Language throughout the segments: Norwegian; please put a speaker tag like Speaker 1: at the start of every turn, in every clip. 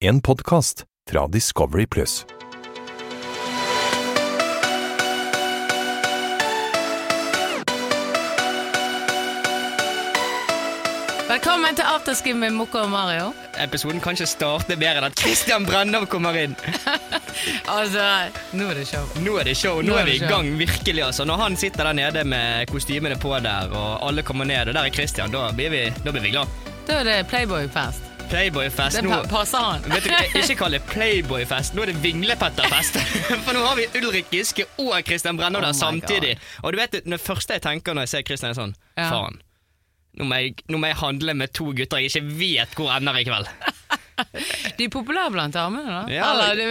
Speaker 1: En podkast fra Discovery Pluss.
Speaker 2: Velkommen til afterski med Mokko og Mario.
Speaker 3: episoden kan ikke starte bedre enn at Christian Brennov kommer inn.
Speaker 2: Altså, nå er det show.
Speaker 3: Nå er det show, nå,
Speaker 2: Nå er
Speaker 3: er vi
Speaker 2: det
Speaker 3: i
Speaker 2: show.
Speaker 3: gang, virkelig. altså. Når han sitter der nede med kostymene på der, og alle kommer ned, og der er Christian, da blir vi, da blir vi glad.
Speaker 2: Da er det Playboy-fest.
Speaker 3: Playboy-fest
Speaker 2: Det
Speaker 3: nå.
Speaker 2: pa passer han.
Speaker 3: Vet du, hva, Ikke kall det Playboy-fest, nå er det Vinglepetterfest. For nå har vi Ulrik Giske og Christian Brennov
Speaker 2: Oh
Speaker 3: der
Speaker 2: my
Speaker 3: samtidig. Og du vet, det første jeg tenker når jeg ser Christian, er sånn
Speaker 2: Ja.
Speaker 3: Faen. Nå må, jeg, nå må jeg handle med to gutter jeg ikke vet hvor ender i kveld.
Speaker 2: De er populære blant damene, da.
Speaker 3: Ja,
Speaker 2: Eller, det,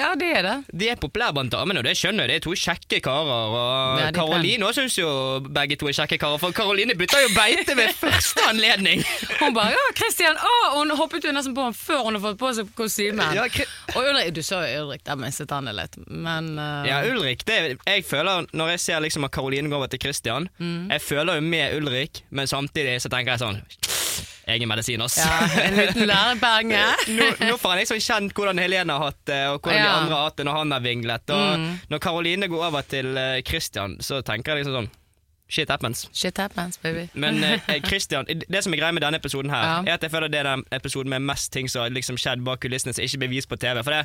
Speaker 2: ja, de er det.
Speaker 3: De er populære blant damene, og det skjønner jeg. Det er to kjekke karer. Og
Speaker 2: Ja, de er
Speaker 3: Karoline òg syns jo begge to er kjekke karer, for Karoline bytter jo beite ved første anledning!
Speaker 2: Hun bare Ja, Christian! Å, hun hoppet jo nesten på ham før hun har fått på seg kostymen.
Speaker 3: Ja, Kri-
Speaker 2: Og Ulrik, du så jo Ulrik, der mistet han det litt, men eh,
Speaker 3: ja, Ulrik, det er, jeg føler Når jeg ser liksom at Karoline går over til Christian,
Speaker 2: Mm.
Speaker 3: jeg føler jo med Ulrik, men samtidig så tenker jeg sånn Egen medisin, ass.
Speaker 2: ja, En liten lærepenge.
Speaker 3: nå, nå får han liksom kjent hvordan Helene har hatt det, og hvordan de
Speaker 2: Ja. Mm.
Speaker 3: andre har hatt det når han har vinglet. Og når Karoline går over til eh, Christian, så tenker jeg liksom sånn Shit happens.
Speaker 2: Shit happens, baby.
Speaker 3: Men eh, Christian, det som er greia med denne episoden her,
Speaker 2: Ja.
Speaker 3: er at jeg føler det er den episoden med mest ting som har liksom skjedd bak kulissene som ikke blir vist på TV. For det,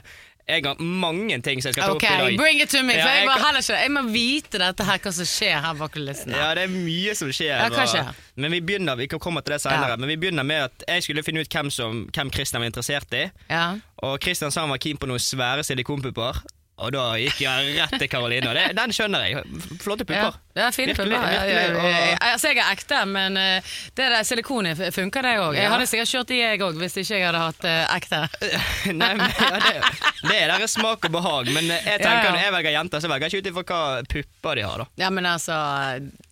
Speaker 3: jeg har mange ting som jeg skal ta
Speaker 2: Ok,
Speaker 3: opp i dag.
Speaker 2: bring it to me!
Speaker 3: Ja,
Speaker 2: For jeg,
Speaker 3: jeg
Speaker 2: bare,
Speaker 3: kan-
Speaker 2: heller ikke, jeg må vite dette her, hva som skjer her bak kulissene.
Speaker 3: Ja, det er mye som skjer.
Speaker 2: Ja, hva skjer?
Speaker 3: Og, men vi begynner, vi kan komme til det senere,
Speaker 2: Ja.
Speaker 3: men vi begynner med at jeg skulle finne ut hvem, som, hvem Christian var interessert i.
Speaker 2: Ja.
Speaker 3: Og Christian sa han var keen på noen svære silikonpupper. Og da gikk jeg rett til Karoline, og det, den skjønner jeg. F- Flotte
Speaker 2: Ja,
Speaker 3: pupper.
Speaker 2: det er fine
Speaker 3: Virkelig,
Speaker 2: pupper. Ja, ja,
Speaker 3: virkelig,
Speaker 2: ja,
Speaker 3: og-
Speaker 2: ja. Altså, jeg er ekte, men eh, det der silikonet f- funker, det òg. Jeg hadde sikkert kjørt i, jeg òg, hvis ikke jeg hadde hatt eh, ekte.
Speaker 3: Nei, men, ja, det, det er deres smak og behag, men eh, jeg
Speaker 2: Ja,
Speaker 3: tenker
Speaker 2: ja.
Speaker 3: når jeg velger jenter, så velger jeg ikke ut ifra hva pupper de har, da.
Speaker 2: Ja, men altså,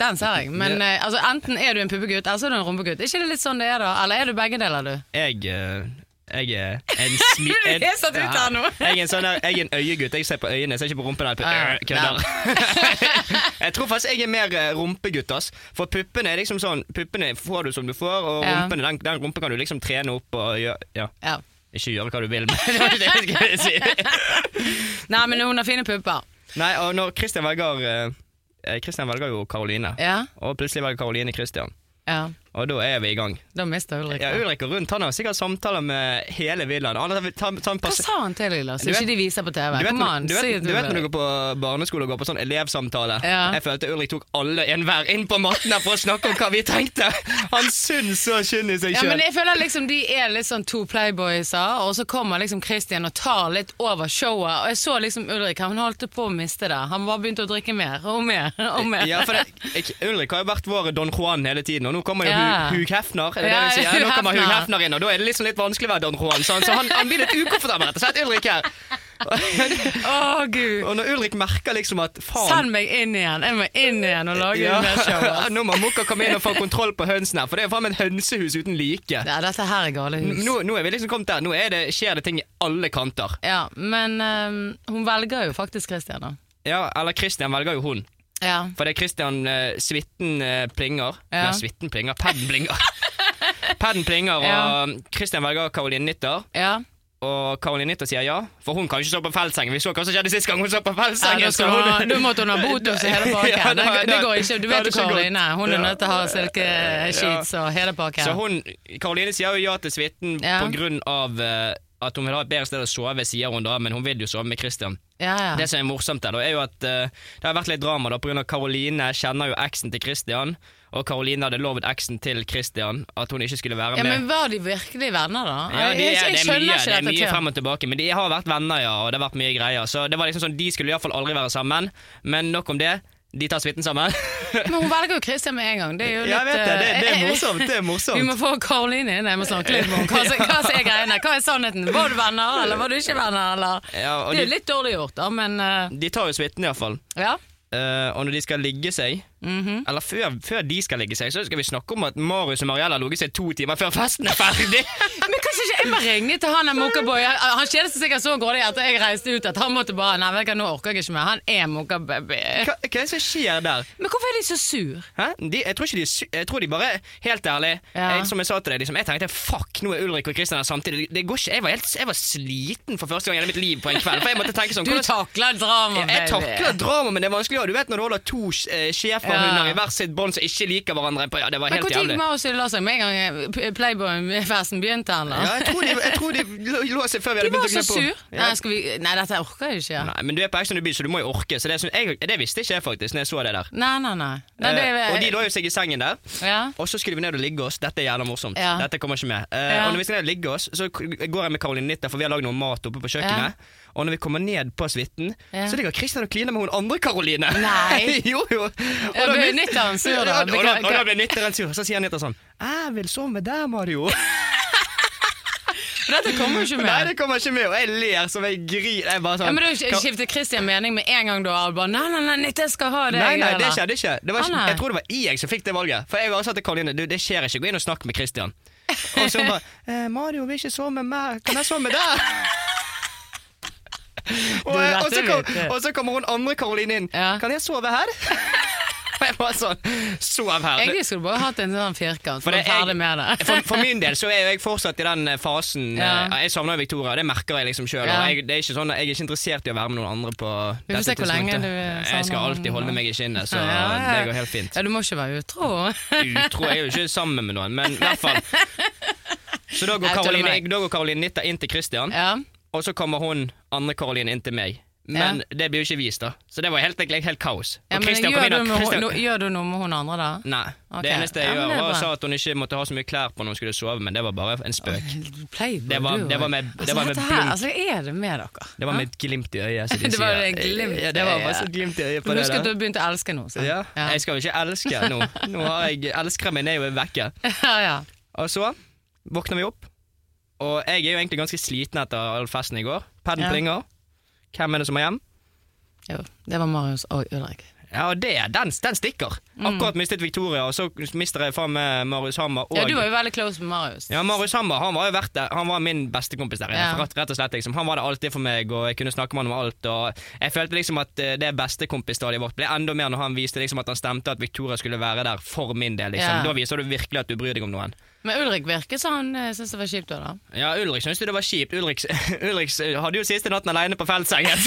Speaker 2: Den ser jeg. Men eh, altså, enten er du en puppegutt, eller så er du en rumpegutt. Er ikke det litt sånn det er, da? Eller er du begge deler, du?
Speaker 3: Jeg, eh, jeg er en smi...
Speaker 2: Du er
Speaker 3: en-
Speaker 2: satt ut her nå.
Speaker 3: Jeg er en sånn der, jeg er en øyegutt. Jeg ser på øynene, jeg ser ikke på rumpen. Jeg,
Speaker 2: Ja, ja.
Speaker 3: kødder. jeg tror faktisk jeg er mer eh, rumpegutt. ass. For puppene er liksom sånn Puppene får du som du får, og
Speaker 2: Ja.
Speaker 3: rumpene, den, den rumpen kan du liksom trene opp og gjøre ja.
Speaker 2: Ja.
Speaker 3: Ikke gjøre hva du vil, men det var ikke det jeg skulle si.
Speaker 2: Nei, men hun har fine pupper.
Speaker 3: Nei, og når Christian velger eh, eh, Christian velger jo Karoline,
Speaker 2: Ja.
Speaker 3: og plutselig velger Karoline Christian.
Speaker 2: ja.
Speaker 3: Og da er vi i gang.
Speaker 2: Da mister Ulrik.
Speaker 3: Ja,
Speaker 2: det.
Speaker 3: Ulrik og Rundt han har sikkert samtaler med hele villaen. Han har tatt- tatt en
Speaker 2: Hva
Speaker 3: passe-
Speaker 2: sa han til deg, Lars?
Speaker 3: Du vet-
Speaker 2: Ikke de viser på TV.
Speaker 3: Du vet,
Speaker 2: Kom an,
Speaker 3: du,
Speaker 2: si
Speaker 3: vet,
Speaker 2: at
Speaker 3: du vet når du
Speaker 2: vil.
Speaker 3: går på barneskole og går på sånn elevsamtale.
Speaker 2: Ja.
Speaker 3: Jeg følte Ulrik tok alle enhver inn på matten her for å snakke om hva vi tenkte! Han syns så synd i seg
Speaker 2: Ja,
Speaker 3: sjøl.
Speaker 2: men jeg føler liksom De er litt sånn to playboyser, og så kommer liksom Christian og tar litt over showet. Og jeg så liksom Ulrik, han holdt på å miste det. Han bare begynte å drikke mer og mer. og mer.
Speaker 3: ja, for det, jeg, Ulrik har jo vært vår Don Juan hele tiden, og nå kommer jo
Speaker 2: Ja.
Speaker 3: Hugh- Hugh Hefner. Er det
Speaker 2: Ja,
Speaker 3: det vi sier?
Speaker 2: Hugh
Speaker 3: Nå kommer Hugh
Speaker 2: Hefner.
Speaker 3: Hefner inn, og da er det liksom litt vanskelig å være Don Juan. Så han, så han, han blir litt ukomfortabel, rett og slett, Ulrik her.
Speaker 2: Å, gud.
Speaker 3: Og når Ulrik merker liksom at faen
Speaker 2: Send meg inn igjen! Jeg må inn igjen og lage
Speaker 3: ja,
Speaker 2: mer show. altså. ass.
Speaker 3: Nå må Mokka komme inn og få kontroll på hønsene her, for det er jo faen meg et hønsehus uten like.
Speaker 2: Ja, dette her er gale hus.
Speaker 3: Nå, nå er vi liksom kommet der. Nå er det, skjer det ting i alle kanter.
Speaker 2: Ja, Men ehm, hun velger jo faktisk Christian, da.
Speaker 3: Ja, eller Christian velger jo hun.
Speaker 2: Ja.
Speaker 3: For det er Christian eh, Svitten eh, plinger.
Speaker 2: Ja.
Speaker 3: Nei, Svitten plinger, Padden plinger. Padden plinger, og eh,
Speaker 2: Ja.
Speaker 3: Christian velger Karoline Nytter.
Speaker 2: ja.
Speaker 3: Og Karoline Nytter sier ja, for hun kan ikke stå på feltsengen. Vi så hva som skjedde sist gang hun så på
Speaker 2: Ja,
Speaker 3: feltsengen.
Speaker 2: da,
Speaker 3: så
Speaker 2: skulle hun, ha-
Speaker 3: hun-
Speaker 2: da måtte hun ha bot hos hele
Speaker 3: Ja,
Speaker 2: pakken.
Speaker 3: da-
Speaker 2: Det, det
Speaker 3: da-
Speaker 2: går ikke. Du
Speaker 3: da
Speaker 2: vet
Speaker 3: hadde
Speaker 2: jo
Speaker 3: ikke gått.
Speaker 2: Karoline. Hun er
Speaker 3: Ja.
Speaker 2: nødt til å ha silkesheets og hele pakken.
Speaker 3: Så hun, Karoline sier jo ja til Svitten
Speaker 2: Ja.
Speaker 3: på grunn av eh, at hun vil ha et bedre sted å sove, sier hun da, men hun vil jo sove med Christian.
Speaker 2: ja, ja.
Speaker 3: Det som er morsomt der, da, er jo at eh, det har vært litt drama da, pga. Karoline kjenner jo eksen til Christian, og Karoline hadde lovet eksen til Christian at hun ikke skulle være
Speaker 2: Ja,
Speaker 3: med.
Speaker 2: men Var de virkelig venner, da?
Speaker 3: Ja, de
Speaker 2: jeg,
Speaker 3: er,
Speaker 2: jeg,
Speaker 3: det er
Speaker 2: skjønner
Speaker 3: mye,
Speaker 2: ikke
Speaker 3: det er
Speaker 2: dette.
Speaker 3: mye
Speaker 2: tøv.
Speaker 3: frem og tilbake, men de har vært venner, ja, og det har vært mye greier. Så det var liksom sånn, De skulle iallfall aldri være sammen, men nok om det. De tar suiten sammen.
Speaker 2: Men hun velger jo Christian med en gang. Det er jo litt
Speaker 3: Ja, jeg vet det, det, det er
Speaker 2: eh,
Speaker 3: morsomt. det er morsomt
Speaker 2: Vi må få Karoline inn. Jeg må snakke litt med henne. Hva, som- hva som er greiene? Hva er sannheten? Var du venner, eller var du ikke venner? Eller?
Speaker 3: Ja, og
Speaker 2: det er
Speaker 3: de-
Speaker 2: jo litt dårlig gjort, da, men eh,
Speaker 3: eh, De tar jo suiten, iallfall.
Speaker 2: ja.
Speaker 3: Uh, og når de skal ligge seg,
Speaker 2: Mhm.
Speaker 3: Eller før, før de skal legge seg, så skal vi snakke om at Marius og Mariella har ligget seg to timer før festen er ferdig.
Speaker 2: Men kanskje ikke jeg må ringe til han der mokkaboy. Han- Han kjedet seg sikkert så grådig etter jeg reiste ut at han måtte bare Nei, vet du hva, nå orker jeg ikke mer. Han er mokkababy.
Speaker 3: Hva, hva er det som skjer der?
Speaker 2: Men hvorfor er de så sur?
Speaker 3: Hæ? De, jeg, tror ikke de, er sy- jeg tror de bare Helt ærlig,
Speaker 2: Ja.
Speaker 3: jeg, som jeg sa til deg, liksom, jeg tenkte fuck, nå er Ulrik og Kristian her samtidig. Det går ikke, jeg, var helt, jeg var sliten for første gang i hele mitt liv på en kveld. For jeg måtte tenke sånn
Speaker 2: Du
Speaker 3: hvordan-
Speaker 2: takler drama,
Speaker 3: Jeg,
Speaker 2: baby.
Speaker 3: jeg takler drama, men det er vanskelig. Og du vet når du holder to eh, schæferhunder
Speaker 2: Ja.
Speaker 3: i hvert sitt bånd som ikke liker hverandre. på- Ja, det var
Speaker 2: Men
Speaker 3: helt
Speaker 2: når gikk
Speaker 3: jævlig.
Speaker 2: Marius og de la seg? Med en gang eh, P- Playboy-festen begynte, eller?
Speaker 3: Ja, jeg tror de, jeg tror de lå- lå seg før vi
Speaker 2: De
Speaker 3: hadde
Speaker 2: var
Speaker 3: begynt å
Speaker 2: så
Speaker 3: kle på.
Speaker 2: sur.
Speaker 3: Ja.
Speaker 2: Nei, skal vi... Nei, dette orker jeg ikke.
Speaker 3: Nei, men du er på Ex on the Beach, så du må jo orke. Så det, syns- jeg, det visste ikke jeg faktisk når jeg så det der.
Speaker 2: Nei, nei, nei. nei det,
Speaker 3: Eh, og de lå jo seg i sengen der.
Speaker 2: ja.
Speaker 3: Og så skulle vi ned og ligge oss. Dette er jævla morsomt.
Speaker 2: Ja.
Speaker 3: Dette kommer ikke med. Eh,
Speaker 2: Ja.
Speaker 3: Og når vi skal ned og ligge oss, så k- går jeg med Karoline Nitta, for vi har lagd noe mat oppe på kjøkkenet. Og når vi kommer ned på suiten,
Speaker 2: Ja.
Speaker 3: så ligger Christian og kliner med hun andre Karoline.
Speaker 2: Nei.
Speaker 3: jo, jo. Og
Speaker 2: Ja,
Speaker 3: da
Speaker 2: ble
Speaker 3: blir-
Speaker 2: Nitteren sur, da?
Speaker 3: Ja, Og da, og da
Speaker 2: Beklager.
Speaker 3: ble Nitteren sur. Så sier Nitta sånn Jeg vil sove der, Mario.
Speaker 2: For dette kommer jo ikke
Speaker 3: Nei,
Speaker 2: med.
Speaker 3: det kommer ikke med. Og jeg ler som jeg griner. Jeg bare sånn
Speaker 2: Ja, men da
Speaker 3: Ka-
Speaker 2: skiftet Christian mening med en gang, da. Og bare Nei, nei, nei, Nitte skal ha det.
Speaker 3: Nei, nei, det
Speaker 2: greiene.
Speaker 3: skjedde ikke. Det var
Speaker 2: Å,
Speaker 3: ikke
Speaker 2: nei.
Speaker 3: jeg tror det var jeg som fikk det valget. For jeg var sa til Karoline du, det skjer ikke, gå inn og snakk med Christian. Og så hun bare eh, 'Mario vil ikke sove med meg, kan jeg sove med deg?' og,
Speaker 2: Du,
Speaker 3: eh,
Speaker 2: dette
Speaker 3: og, så kom,
Speaker 2: vet jeg.
Speaker 3: og så kommer hun andre Karoline inn.
Speaker 2: Ja.
Speaker 3: 'Kan jeg sove her?' og jeg bare sånn Sov her.
Speaker 2: Egentlig skulle du bare hatt en sånn firkant.
Speaker 3: For
Speaker 2: For
Speaker 3: det
Speaker 2: det
Speaker 3: er-
Speaker 2: ferdig med det.
Speaker 3: For, for min del så er jo jeg fortsatt i den eh, fasen
Speaker 2: Ja.
Speaker 3: eh, Jeg savner jo Victoria, det merker jeg liksom sjøl.
Speaker 2: Ja.
Speaker 3: Jeg, det er ikke sånn, at jeg er ikke interessert i å være med noen andre på
Speaker 2: Vi får se hvor lenge du eh,
Speaker 3: Jeg skal
Speaker 2: savner han,
Speaker 3: alltid
Speaker 2: da.
Speaker 3: holde meg i skinnet, så
Speaker 2: Ja, ja, ja.
Speaker 3: det går helt fint.
Speaker 2: Ja, du må ikke være utro.
Speaker 3: utro. Jeg er jo ikke sammen med noen, men i hvert fall. Så da går
Speaker 2: Jeg tuller med
Speaker 3: Karoline,
Speaker 2: deg.
Speaker 3: da går Karoline Nitta inn til Christian,
Speaker 2: Ja.
Speaker 3: og så kommer hun andre Karoline inn til meg. Men det blir jo ikke vist, da. Så det var helt, egentlig helt kaos. Og
Speaker 2: ja men
Speaker 3: Christian kom
Speaker 2: gjør
Speaker 3: inn,
Speaker 2: du,
Speaker 3: og
Speaker 2: med,
Speaker 3: Christian-
Speaker 2: no, gjør du noe med hun andre, da?
Speaker 3: Nei.
Speaker 2: Ok.
Speaker 3: Det eneste jeg
Speaker 2: Ja, men
Speaker 3: gjør,
Speaker 2: det er
Speaker 3: var å
Speaker 2: bra.
Speaker 3: sa at hun ikke måtte ha så mye klær på når hun skulle sove, men det var bare en spøk.
Speaker 2: Playboy,
Speaker 3: Det var-
Speaker 2: du,
Speaker 3: det var med-
Speaker 2: altså,
Speaker 3: det var med
Speaker 2: dette her,
Speaker 3: blink.
Speaker 2: Altså, hva er det med dere?
Speaker 3: Det var med et glimt i øyet. som de
Speaker 2: Det var
Speaker 3: sier.
Speaker 2: et glimt i
Speaker 3: ja, det var
Speaker 2: øyet.
Speaker 3: bare så et glimt i øyet på
Speaker 2: Men
Speaker 3: det
Speaker 2: husk at du
Speaker 3: der.
Speaker 2: har begynt å elske noe. sant?
Speaker 3: Ja.
Speaker 2: Ja.
Speaker 3: Jeg skal jo ikke elske nå. Nå har jeg Elskeren min er jo vekke.
Speaker 2: ja, ja.
Speaker 3: Og så Altså, våkner vi opp, og jeg er jo egentlig ganske sliten etter all festen i går. Padden
Speaker 2: Ja.
Speaker 3: plinger. Hvem er det som er hjem?
Speaker 2: Jo, det var Marius og Ulrik.
Speaker 3: Ja, og det, den, den stikker.
Speaker 2: Mm.
Speaker 3: Akkurat mistet Victoria, og så mister jeg faen meg Marius Hammer. Og
Speaker 2: Ja, du var jo veldig close med Marius.
Speaker 3: Ja, Marius Hammer han var jo verdt det. Han var min bestekompis der.
Speaker 2: Ja.
Speaker 3: inne, Rett, rett og slett liksom. Han var det alltid for meg, og jeg kunne snakke med han om alt. Og jeg følte liksom at eh, det bestekompisstadiet vårt ble enda mer når han viste liksom at han stemte at Victoria skulle være der for min del. liksom.
Speaker 2: Ja.
Speaker 3: Da viser du virkelig at du bryr deg om noen.
Speaker 2: Men Ulrik virket som han eh, syntes det var kjipt. Også, da.
Speaker 3: Ja, Ulrik syntes jo det var kjipt. Ulrik, Ulrik s- hadde jo siste natten aleine på feltsengen.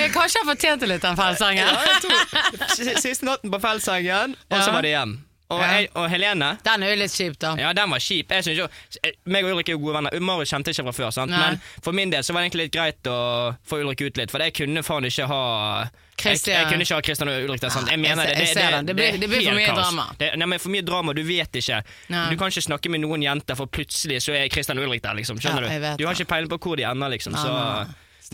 Speaker 2: Eh, Kanskje han fortjente litt den feilsangen.
Speaker 3: Ja, jeg tror- S- siste natten på feltsengen, og så
Speaker 2: Ja.
Speaker 3: var det hjem. Og,
Speaker 2: Ja.
Speaker 3: jeg, og Helene
Speaker 2: Den er jo litt kjip, da.
Speaker 3: Ja, den var kjip. Jeg synes jo, eh, meg og Ulrik er jo gode venner. Marius kjente ikke fra før, sant?
Speaker 2: Nei.
Speaker 3: men for min del så var det egentlig litt greit å få Ulrik ut litt, for jeg kunne faen ikke ha jeg,
Speaker 2: Christian.
Speaker 3: jeg kunne ikke ha Christian og Ulrik der. sant? Jeg
Speaker 2: Nei,
Speaker 3: mener
Speaker 2: jeg
Speaker 3: det.
Speaker 2: ser- jeg ser det. Det blir-
Speaker 3: er
Speaker 2: det blir for
Speaker 3: helt
Speaker 2: mye
Speaker 3: kaos.
Speaker 2: drama.
Speaker 3: Det, nei, men For mye drama, du vet ikke.
Speaker 2: Nei.
Speaker 3: Du kan ikke snakke med noen jenter, for plutselig så er Christian og Ulrik der, liksom.
Speaker 2: Ja,
Speaker 3: Skjønner
Speaker 2: jeg vet
Speaker 3: du? Du har
Speaker 2: det.
Speaker 3: ikke peiling på hvor de ender, liksom.
Speaker 2: Nei,
Speaker 3: Så
Speaker 2: nei, nei.
Speaker 3: det,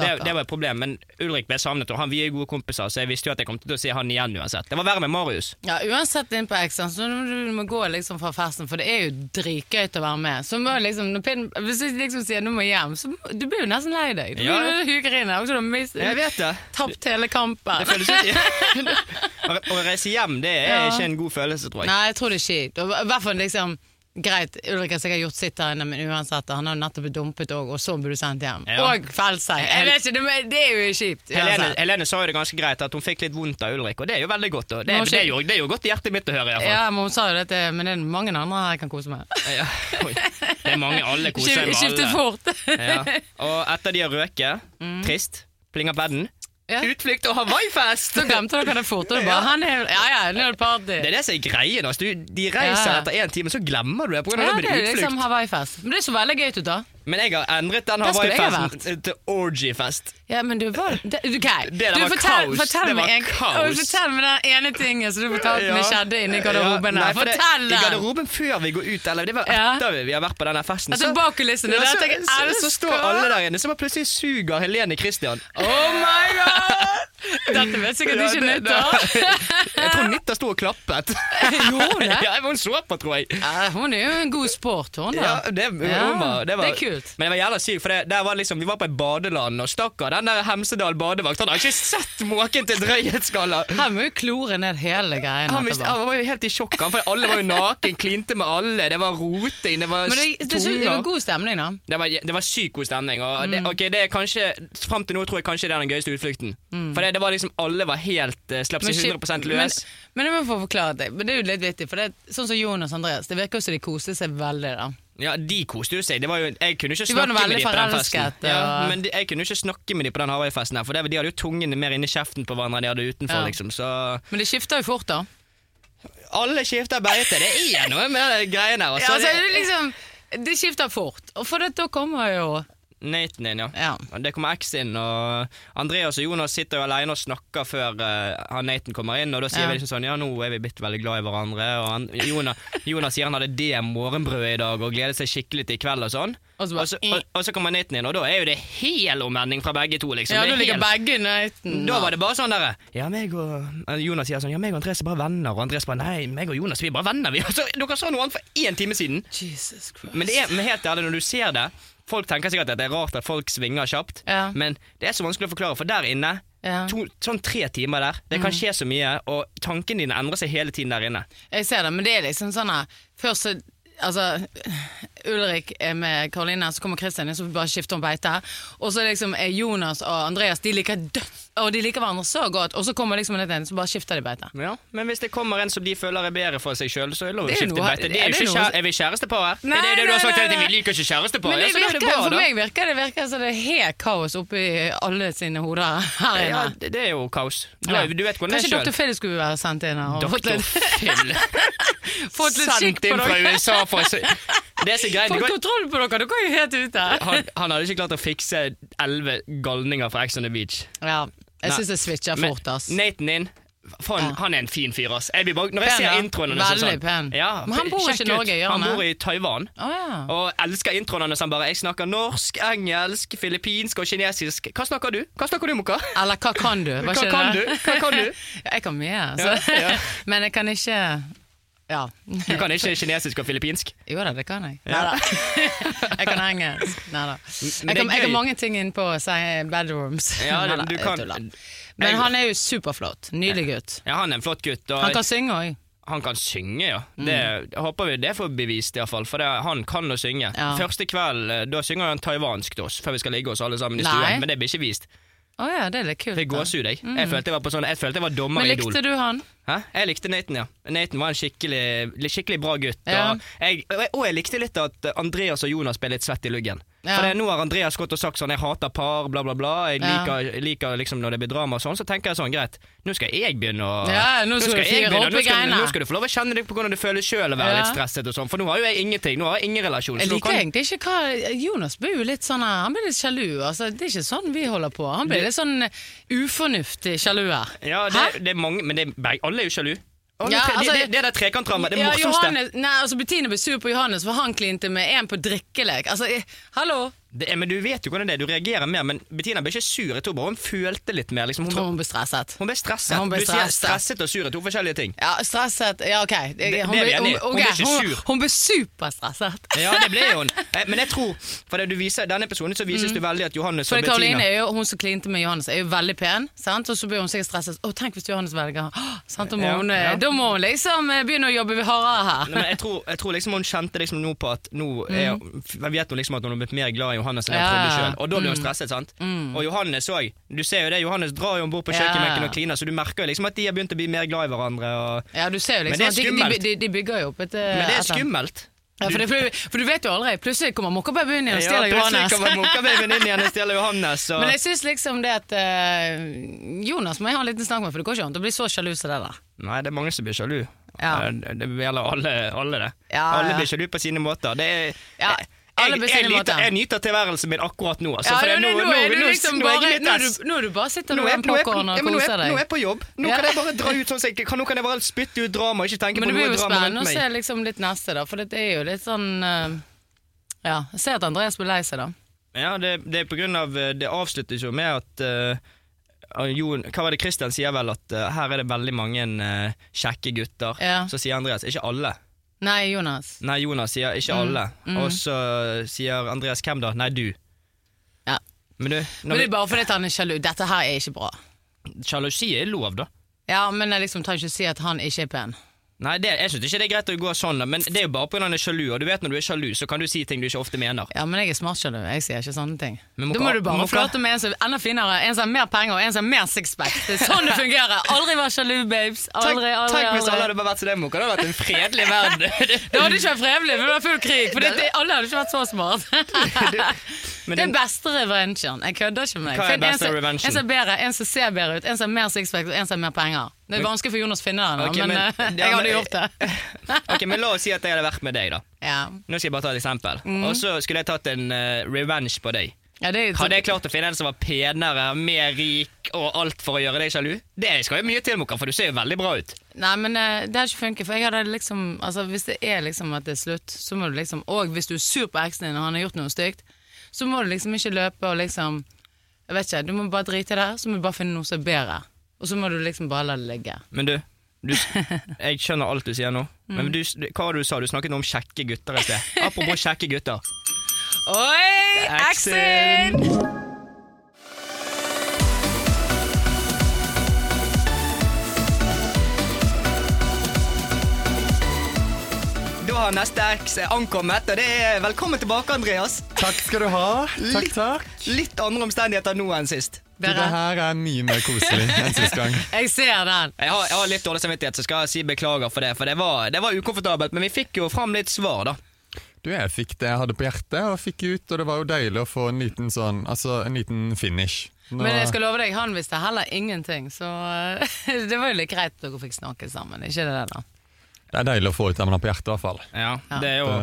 Speaker 2: Stakkar.
Speaker 3: det var et problem. Men Ulrik ble savnet, og han, vi er gode kompiser, så jeg visste jo at jeg kom til å se han igjen uansett. Det var verre med Marius.
Speaker 2: Ja, uansett inn på Exxon, så må du du må gå liksom fra festen, for det er jo dritgøy å være med. Så må jeg liksom, når Pinn hvis jeg liksom sier du må hjem, så må- du blir jo nesten lei deg. Du
Speaker 3: Ja.
Speaker 2: blir jo huker inn her, og så har du mist-
Speaker 3: Jeg vet det.
Speaker 2: tapt hele kampen.
Speaker 3: Det føles ut Å reise hjem, det er
Speaker 2: Ja.
Speaker 3: ikke en god følelse, tror jeg.
Speaker 2: Nei, jeg tror det er kjipt. Og I hvert fall liksom, greit, Ulrik har sikkert gjort sitt der inne, men uansett, han har jo nettopp blitt dumpet òg, og så blir du sendt hjem.
Speaker 3: Ja.
Speaker 2: Og felt seg. Jeg vet ikke, det, men det er jo kjipt.
Speaker 3: Helene,
Speaker 2: uansett.
Speaker 3: Helene sa jo det ganske greit, at hun fikk litt vondt av Ulrik, og det er jo veldig godt. Og det,
Speaker 2: Nå
Speaker 3: det,
Speaker 2: skjer-
Speaker 3: er jo, det er jo godt i hjertet mitt å høre, iallfall.
Speaker 2: Ja, men hun sa jo dette, men det er mange andre her jeg kan kose meg.
Speaker 3: Ja. Oi, Det er mange alle koser seg med
Speaker 2: Skiftet
Speaker 3: alle.
Speaker 2: fort.
Speaker 3: Ja. Og etter de har røket, trist, plinger
Speaker 2: Mm.
Speaker 3: bedden,
Speaker 2: Ja.
Speaker 3: utflukt og Hawaii-fest!
Speaker 2: Så glemte dere det fort. Og du bare, han er, ja, ja, nå er det party.
Speaker 3: Det er det som er greien. Altså. Du, de reiser
Speaker 2: Ja.
Speaker 3: etter én time, så glemmer du det. På grunn
Speaker 2: Ja,
Speaker 3: av det
Speaker 2: det
Speaker 3: blir
Speaker 2: er
Speaker 3: det utflukt.
Speaker 2: liksom Hawaii-fest. Men det så veldig gøy ut, da.
Speaker 3: Men jeg har endret den
Speaker 2: Der skulle jeg ha
Speaker 3: Hawaii-festen til orgy-fest.
Speaker 2: Ja, men du var det, du, ok.
Speaker 3: Det der
Speaker 2: du
Speaker 3: var
Speaker 2: fortell,
Speaker 3: kaos.
Speaker 2: Fortell
Speaker 3: Det
Speaker 2: meg
Speaker 3: var
Speaker 2: en,
Speaker 3: kaos.
Speaker 2: Oi, fortell meg den ene tingen som du fortalte meg skjedde inni garderoben. her.
Speaker 3: Ja, nei, for det-
Speaker 2: fortell
Speaker 3: I
Speaker 2: den!
Speaker 3: garderoben før vi går ut, eller det var
Speaker 2: Ja.
Speaker 3: etter vi har vært på denne festen.
Speaker 2: Altså,
Speaker 3: så-
Speaker 2: bak kulissene,
Speaker 3: Ja,
Speaker 2: det
Speaker 3: så,
Speaker 2: tenker jeg,
Speaker 3: så, så
Speaker 2: elsker.
Speaker 3: står alle der inne, så bare plutselig suger Helene Christian.
Speaker 2: Oh my god! Dette vet sikkert
Speaker 3: Ja,
Speaker 2: ikke
Speaker 3: det-
Speaker 2: nytt av.
Speaker 3: Jeg tror Nitta sto og klappet.
Speaker 2: Gjorde hun det?
Speaker 3: Ja, men hun så på, tror jeg.
Speaker 2: Ja, hun er jo en god sport, hun da.
Speaker 3: Ja, det, hun var, det, var,
Speaker 2: det er kult.
Speaker 3: Men det var jævla sykt, for det, der var liksom, vi var på et badeland, og stakkar, den der Hemsedal badevakt, han har ikke sett måken til drøyhetsskalla!
Speaker 2: Her må jo klore ned hele greien.
Speaker 3: Han, visste-
Speaker 2: etterpå.
Speaker 3: han var jo helt i sjokk, han, for alle var jo naken, klinte med alle, det var roting, det var
Speaker 2: Men det, det, det, det var
Speaker 3: tunger.
Speaker 2: god stemning, da.
Speaker 3: Det var, det var sykt god stemning. Og
Speaker 2: Mm.
Speaker 3: det, ok, det er kanskje, Fram til nå tror jeg kanskje det er den gøyeste utflukten. For det, det var liksom, alle var helt uh, Slapp seg
Speaker 2: shit,
Speaker 3: 100
Speaker 2: Mm. men,
Speaker 3: løs.
Speaker 2: men jeg må få forklare det. Men det er jo litt vittig, for det er sånn som Jonas og Andreas. Det virker jo som de koste seg veldig, da.
Speaker 3: Ja, De koste jo seg. Det var jo, jeg kunne jo ikke
Speaker 2: De var
Speaker 3: snakke
Speaker 2: nå
Speaker 3: med
Speaker 2: veldig
Speaker 3: de på den festen.
Speaker 2: forelsket,
Speaker 3: Ja,
Speaker 2: og-
Speaker 3: men de, jeg kunne jo ikke snakke med de på den Hawaii-festen her, for det, de hadde jo tungene mer inni kjeften på hverandre enn de hadde utenfor.
Speaker 2: Ja.
Speaker 3: liksom, så...
Speaker 2: Men det skifter jo fort, da.
Speaker 3: Alle skifter beite. Det er noe med de greiene her.
Speaker 2: Ja,
Speaker 3: Altså,
Speaker 2: altså, det, liksom, det skifter fort. Og for det, da kommer jo
Speaker 3: Nathan inn, ja.
Speaker 2: Ja.
Speaker 3: Og Det kommer X inn, og Andreas og Jonas sitter jo alene og snakker før eh, han Nathan kommer inn, og da
Speaker 2: Ja.
Speaker 3: sier vi liksom sånn Ja, nå er vi blitt veldig glad i hverandre, og han, Jonas, Jonas sier han hadde det morgenbrødet i dag og gleder seg skikkelig til i kveld og sånn.
Speaker 2: Og så bare- "Eh."
Speaker 3: og, så, og, og så kommer Nathan inn, og da er jo det hel omvending fra begge to, liksom.
Speaker 2: Ja,
Speaker 3: Det
Speaker 2: nå
Speaker 3: er
Speaker 2: ligger
Speaker 3: helt-
Speaker 2: begge i nøyten.
Speaker 3: Da var det bare sånn derre Ja, meg og eh, Jonas sier sånn Ja, meg og Andreas er bare venner, og Andreas bare Nei, meg og Jonas, vi er bare venner, vi. Og så- dere sa noe annet for én time siden.
Speaker 2: Jesus Christ.
Speaker 3: Men, det er, men helt ærlig, når du ser det Folk tenker sikkert at det er rart at folk svinger kjapt,
Speaker 2: Ja.
Speaker 3: men det er så vanskelig å forklare, for der inne
Speaker 2: Ja. Mm.
Speaker 3: to, Sånn tre timer der. Det kan skje så mye, og tankene dine endrer seg hele tiden der inne.
Speaker 2: Jeg ser det, men det er liksom sånn her Først så Altså, Ulrik er med Karoline, så kommer Kristian inn, så vi bare skifter om beite. Og så liksom er Jonas og Andreas De liker dødt, og de liker hverandre så godt. Og så kommer liksom en inn, så bare skifter de beite.
Speaker 3: Ja. Men hvis det kommer en som de føler er bedre for seg sjøl, så er det lov å
Speaker 2: Det er
Speaker 3: skifte
Speaker 2: noe-
Speaker 3: beite. Det
Speaker 2: er
Speaker 3: er,
Speaker 2: det
Speaker 3: jo
Speaker 2: noe-
Speaker 3: ikke kjære, er vi kjærestepar her?
Speaker 2: Nei,
Speaker 3: er det det du har
Speaker 2: nei,
Speaker 3: sagt
Speaker 2: nei,
Speaker 3: hele tiden?
Speaker 2: nei.
Speaker 3: Vi liker ikke kjærestepar.
Speaker 2: Men
Speaker 3: ja,
Speaker 2: det
Speaker 3: så da er
Speaker 2: virker,
Speaker 3: det bra,
Speaker 2: for
Speaker 3: da.
Speaker 2: meg virker det virker som det er helt kaos oppi alle sine hoder her
Speaker 3: Ja,
Speaker 2: inne.
Speaker 3: det, det er jo kaos. Du,
Speaker 2: Ja.
Speaker 3: er- du vet hvordan det
Speaker 2: Kanskje
Speaker 3: er sjøl.
Speaker 2: Dr. Phil skulle være sendt inn her og fått
Speaker 3: Doktor
Speaker 2: litt,
Speaker 3: Phil.
Speaker 2: fått litt skikk
Speaker 3: Sendt
Speaker 2: på
Speaker 3: inn fra
Speaker 2: dere.
Speaker 3: USA for å se Det er så greit. det
Speaker 2: Fått
Speaker 3: går-
Speaker 2: kontroll på dere, dere er jo helt ute.
Speaker 3: han, han hadde ikke klart å fikse elleve galninger fra Ex on the Beach.
Speaker 2: Ja, jeg
Speaker 3: Nei.
Speaker 2: syns det switcher
Speaker 3: Men
Speaker 2: fort, ass.
Speaker 3: Nathan din, faen,
Speaker 2: Ja.
Speaker 3: han er en fin fyr, ass. Jeg blir bare, når jeg
Speaker 2: Pen, ja.
Speaker 3: ser introen hans og
Speaker 2: Veldig
Speaker 3: sånn-
Speaker 2: pen.
Speaker 3: Ja,
Speaker 2: Men han bor
Speaker 3: sjekk
Speaker 2: ikke i Norge,
Speaker 3: ut.
Speaker 2: gjør han
Speaker 3: Han
Speaker 2: det?
Speaker 3: bor i Taiwan.
Speaker 2: Å ja.
Speaker 3: Og elsker introen hans. Han bare 'Jeg snakker norsk, engelsk, filippinsk og kinesisk'. Hva snakker du? Hva snakker du, Moka?
Speaker 2: Eller hva kan du? Var
Speaker 3: Hva
Speaker 2: ikke
Speaker 3: kan
Speaker 2: det?
Speaker 3: du? Hva kan du?
Speaker 2: Ja, jeg kan mye, så.
Speaker 3: Ja, ja.
Speaker 2: men jeg kan ikke Ja.
Speaker 3: Du kan ikke kinesisk og filippinsk.
Speaker 2: Jo da, det kan jeg. Neida. jeg kan engelsk. Neida.
Speaker 3: men
Speaker 2: Jeg,
Speaker 3: det er
Speaker 2: kan, jeg
Speaker 3: gøy.
Speaker 2: har mange ting inn på si, bedrooms.
Speaker 3: Ja, du-
Speaker 2: Neida,
Speaker 3: du
Speaker 2: jeg
Speaker 3: kan-
Speaker 2: tuller. Men han er jo superflott. Nydelig gutt.
Speaker 3: Ja, Han er en flott gutt. Og
Speaker 2: Han kan synge òg.
Speaker 3: Han kan synge, ja. Det
Speaker 2: Mm.
Speaker 3: håper vi det får bevist, iallfall. For det, han kan å synge.
Speaker 2: Ja.
Speaker 3: Første kveld eh, da synger han taiwansk til oss, før vi skal ligge oss alle sammen i
Speaker 2: Nei.
Speaker 3: stuen. Men det blir ikke vist.
Speaker 2: Å ja, det er litt kult.
Speaker 3: Fikk
Speaker 2: da.
Speaker 3: gåsehud, jeg. Jeg følte jeg var på sånn, jeg følte jeg var dommer
Speaker 2: Mm. Men
Speaker 3: i Idol.
Speaker 2: likte du han?
Speaker 3: Hæ? Jeg likte Nathan, ja. Nathan var en skikkelig, li- skikkelig bra gutt.
Speaker 2: Ja.
Speaker 3: Og, jeg, og, jeg, og jeg likte litt at Andreas og Jonas ble litt svett i luggen.
Speaker 2: Ja.
Speaker 3: For det, nå har Andreas gått og sagt sånn 'jeg hater par', bla, bla, bla. Jeg
Speaker 2: Ja.
Speaker 3: liker, liker liksom når det blir drama og sånn. Så tenker jeg sånn, greit, nå skal jeg begynne å
Speaker 2: Ja, nå skal du
Speaker 3: jeg
Speaker 2: fyre
Speaker 3: begynne,
Speaker 2: opp
Speaker 3: nå
Speaker 2: i
Speaker 3: skal,
Speaker 2: greiene.
Speaker 3: nå skal du få lov å kjenne deg på hvordan du føler sjøl å være
Speaker 2: Ja.
Speaker 3: litt stresset og sånn. For nå har jo jeg ingenting. Nå har jeg ingen relasjon.
Speaker 2: Jeg
Speaker 3: så nå
Speaker 2: liker egentlig ikke hva Jonas blir jo litt sånn Han blir litt sjalu. Altså, det er ikke sånn vi holder på. Han blir litt sånn ufornuftig sjalu her.
Speaker 3: ja, det, det er mange, men det er, beg- alle er jo sjalu. Alle
Speaker 2: Ja,
Speaker 3: tre-
Speaker 2: altså-
Speaker 3: det, det, det der trekantrammet, det
Speaker 2: Ja,
Speaker 3: morsomste.
Speaker 2: Johannes, nei, altså Bettine ble sur på Johannes, for han klinte med en på drikkelek. Altså, eh, hallo!
Speaker 3: Det er, men Du vet jo hvordan det er, du reagerer mer, men Bettina ble ikke sur. Jeg tror bare hun følte litt mer. Liksom. Hun,
Speaker 2: Tror hun ble stresset.
Speaker 3: ble, hun ble stresset.
Speaker 2: Ja, hun ble
Speaker 3: du sier
Speaker 2: stresset.
Speaker 3: stresset og sur er to forskjellige ting.
Speaker 2: Ja, stresset Ja, OK. Jeg-
Speaker 3: det er
Speaker 2: Hun
Speaker 3: vi
Speaker 2: ble,
Speaker 3: enige i. Hun ble
Speaker 2: ok,
Speaker 3: ikke
Speaker 2: hun,
Speaker 3: sur.
Speaker 2: hun ble superstresset.
Speaker 3: Ja, det ble hun. Eh, Men jeg tror, for det du viser, i denne episoden så vises det veldig at
Speaker 2: Mm.
Speaker 3: Johannes
Speaker 2: For
Speaker 3: og
Speaker 2: Karoline
Speaker 3: Bettina
Speaker 2: er jo hun som klinte med Johannes, er jo veldig pen, sant? og så blir hun sikkert stresset. Å, tenk hvis Johannes velger Åh, sant? Da må,
Speaker 3: Ja,
Speaker 2: hun, eh,
Speaker 3: ja.
Speaker 2: da må hun liksom eh, begynne å jobbe hardere her.
Speaker 3: Nei, men jeg, tror, jeg tror liksom hun kjente liksom nå på at nå er, jeg vet hun liksom at hun har blitt mer glad i Johannes enn hun
Speaker 2: Mm. Ja,
Speaker 3: trodde
Speaker 2: ja. Mm.
Speaker 3: sjøl. Og da blir hun stresset, sant. Og Johannes òg. Du ser jo det, Johannes drar jo om bord på
Speaker 2: Ja.
Speaker 3: kjøkkenbenken og kliner, så du merker jo liksom at de har begynt å bli mer glad i hverandre. Og...
Speaker 2: Ja, du ser jo
Speaker 3: Men
Speaker 2: liksom
Speaker 3: det er
Speaker 2: at de, de,
Speaker 3: skummelt.
Speaker 2: de, de bygger jo opp et eh,
Speaker 3: Men det er
Speaker 2: et eller annet.
Speaker 3: skummelt.
Speaker 2: Ja, for, det, for, for du vet jo aldri. Plutselig kommer mokkababyen inn og stjeler
Speaker 3: plutselig
Speaker 2: Johannes.
Speaker 3: kommer mokkababyen inn igjen og stjeler Johannes. Og...
Speaker 2: Men jeg syns liksom det at eh, Jonas må jeg ha en liten snakk med, for det går ikke an å bli så sjalu som det der.
Speaker 3: Nei, det er mange som blir sjalu.
Speaker 2: Ja.
Speaker 3: Eh, Det det gjelder alle, alle det.
Speaker 2: Ja,
Speaker 3: alle
Speaker 2: ja.
Speaker 3: blir sjalu på sine måter. Det er,
Speaker 2: Ja,
Speaker 3: jeg,
Speaker 2: alle på sine
Speaker 3: jeg,
Speaker 2: måter.
Speaker 3: nyter, jeg nyter tilværelsen min akkurat nå. Altså, for det er
Speaker 2: nå,
Speaker 3: nå-
Speaker 2: nå er
Speaker 3: nå-
Speaker 2: du
Speaker 3: nå-
Speaker 2: liksom
Speaker 3: nå er jeg
Speaker 2: bare
Speaker 3: mitt
Speaker 2: Nå, er
Speaker 3: ess.
Speaker 2: du, nå er du bare sitter
Speaker 3: Nå
Speaker 2: med
Speaker 3: er-
Speaker 2: den
Speaker 3: nå er-
Speaker 2: popcornen
Speaker 3: ja,
Speaker 2: og
Speaker 3: men nå er-
Speaker 2: koser
Speaker 3: Nå er
Speaker 2: deg.
Speaker 3: jeg på jobb. Nå
Speaker 2: Ja.
Speaker 3: kan jeg bare dra ut sånn som jeg kan. Nå kan jeg bare spytte ut drama og ikke tenke
Speaker 2: Men
Speaker 3: på
Speaker 2: det blir
Speaker 3: noe
Speaker 2: jo
Speaker 3: drama rundt
Speaker 2: spennende å
Speaker 3: meg.
Speaker 2: se liksom litt neste, da, for det er jo litt sånn eh, Ja. Jeg ser at Andreas blir lei seg, da.
Speaker 3: Ja, det, det er på grunn av eh, Det avsluttes jo med at eh, og Jon, hva var det Christian sier vel at eh, her er det veldig mange eh, kjekke gutter.
Speaker 2: Ja.
Speaker 3: Så sier Andreas ikke alle.
Speaker 2: Nei, Jonas.
Speaker 3: Nei, Jonas sier ikke
Speaker 2: Mm.
Speaker 3: alle. Og så sier Andreas hvem da? Nei, du.
Speaker 2: Ja.
Speaker 3: Men du,
Speaker 2: Men
Speaker 3: når
Speaker 2: det er bare fordi at han er sjalu. Dette her er ikke bra.
Speaker 3: vi, sjalusi er lov, da.
Speaker 2: Ja, men jeg liksom trenger ikke si at han ikke er pen.
Speaker 3: Nei, det, jeg syns ikke det er greit å gå sånn, da, men det er jo bare pga. han er sjalu. Og du vet når du er sjalu, så kan du si ting du ikke ofte mener.
Speaker 2: Ja, men jeg er smart, sjalu. Jeg sier ikke sånne ting.
Speaker 3: Men må
Speaker 2: da
Speaker 3: ikke-
Speaker 2: må du bare
Speaker 3: må ikke-
Speaker 2: flørte med en som er enda finere, en som har mer penger, og en som har mer sixpack. Det er sånn det fungerer. Aldri vær sjalu, babes. Aldri,
Speaker 3: Tenk-
Speaker 2: aldri,
Speaker 3: tenk hvis alle
Speaker 2: aldri.
Speaker 3: hadde bare vært som deg, Moka. Det hadde vært en fredelig verden.
Speaker 2: Det hadde ikke vært frevelig, for det var full krig. For det, alle hadde ikke vært så smart.
Speaker 3: Men
Speaker 2: Det er
Speaker 3: det,
Speaker 2: beste revengen. Jeg kødder ikke med deg.
Speaker 3: Hva er
Speaker 2: Finn
Speaker 3: beste
Speaker 2: en, som-
Speaker 3: revengen?
Speaker 2: en som er bedre, en som ser bedre ut, en som har mer sixpack og en som har mer penger. Det er vanskelig for Jonas å finne den, da,
Speaker 3: Ok,
Speaker 2: men,
Speaker 3: men-
Speaker 2: eh,
Speaker 3: ja,
Speaker 2: jeg
Speaker 3: men-
Speaker 2: hadde gjort det.
Speaker 3: ok, men La oss si at jeg hadde vært med deg, da.
Speaker 2: Ja,
Speaker 3: Nå skal jeg bare ta et eksempel. Og så skulle jeg tatt en eh, revenge på deg.
Speaker 2: ja det er jo
Speaker 3: Hadde jeg klart å finne en som var penere, mer rik og alt for å gjøre deg sjalu? Det skal jo mye til, Moka, for du ser jo veldig bra ut.
Speaker 2: Nei, men eh, det har ikke funket, for jeg hadde liksom Altså, hvis det er liksom at det er slutt, så må du liksom Og hvis du er sur på eksen din og han har gjort noe stygt, så må du liksom ikke løpe og liksom Jeg vet ikke, du må bare drite i det, så må du bare finne noe som er bedre. Og så må du liksom bare la det ligge.
Speaker 3: Men du, du jeg skjønner alt du sier nå. Men du, hva var det du sa? Du snakket om kjekke gutter i sted. Apropos kjekke gutter.
Speaker 2: Oi,
Speaker 3: Eksen!
Speaker 2: eksen!
Speaker 3: Da har neste X ankommet, og det er velkommen tilbake, Andreas.
Speaker 4: Takk skal du ha. Takk,
Speaker 3: Litt-
Speaker 4: takk.
Speaker 3: Litt andre omstendigheter nå enn sist.
Speaker 4: Du, det
Speaker 2: Dere,
Speaker 4: her er mye mer koselig enn sist gang.
Speaker 2: jeg ser den.
Speaker 3: Jeg har, jeg har litt dårlig samvittighet, så skal jeg si beklager for det. For det var, det var ukomfortabelt, men vi fikk jo fram litt svar, da.
Speaker 4: Du, jeg fikk det jeg hadde på hjertet, og fikk ut, og det var jo deilig å få en liten sånn, altså en liten finish. Nå-
Speaker 2: Men jeg skal love deg, han visste heller ingenting, så eh, det var jo litt greit at dere fikk snakke sammen. Ikke det, da?
Speaker 4: Det er deilig å få ut det man har på hjertet, i hvert fall.
Speaker 3: Ja,
Speaker 2: Ja.
Speaker 3: det er jo...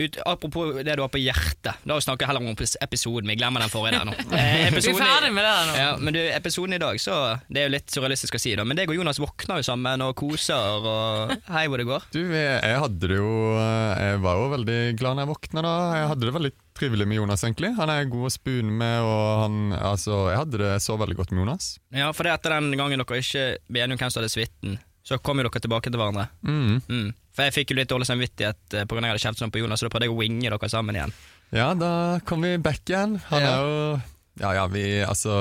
Speaker 3: Ut, apropos det du har på hjertet. Da snakker jeg heller om epis- episoden. Vi glemmer den forrige der nå. Eh,
Speaker 2: Vi er
Speaker 3: episoden i-
Speaker 2: ferdig med det der nå.
Speaker 3: Ja, men du, episoden i dag, så Det er jo litt surrealistisk å si, da. Men deg og Jonas våkner jo sammen og koser og Hei, hvor det går.
Speaker 4: Du, jeg jeg hadde det jo Jeg var jo veldig glad når jeg våkna da. Jeg hadde det veldig trivelig med Jonas, egentlig. Han er god å spune med, og han Altså, jeg hadde det så veldig godt med Jonas.
Speaker 3: Ja, for det etter den gangen dere ikke ble enige om hvem som hadde suiten, så kom jo dere tilbake til hverandre.
Speaker 4: Mm.
Speaker 3: Mm. For jeg fikk jo litt dårlig samvittighet eh, på grunn av at jeg hadde kjeftet sånn på Jonas, så da prøvde jeg å winge dere sammen igjen.
Speaker 4: Ja, da kom vi back igjen. Han
Speaker 3: Ja.
Speaker 4: er jo Ja, ja, vi Altså,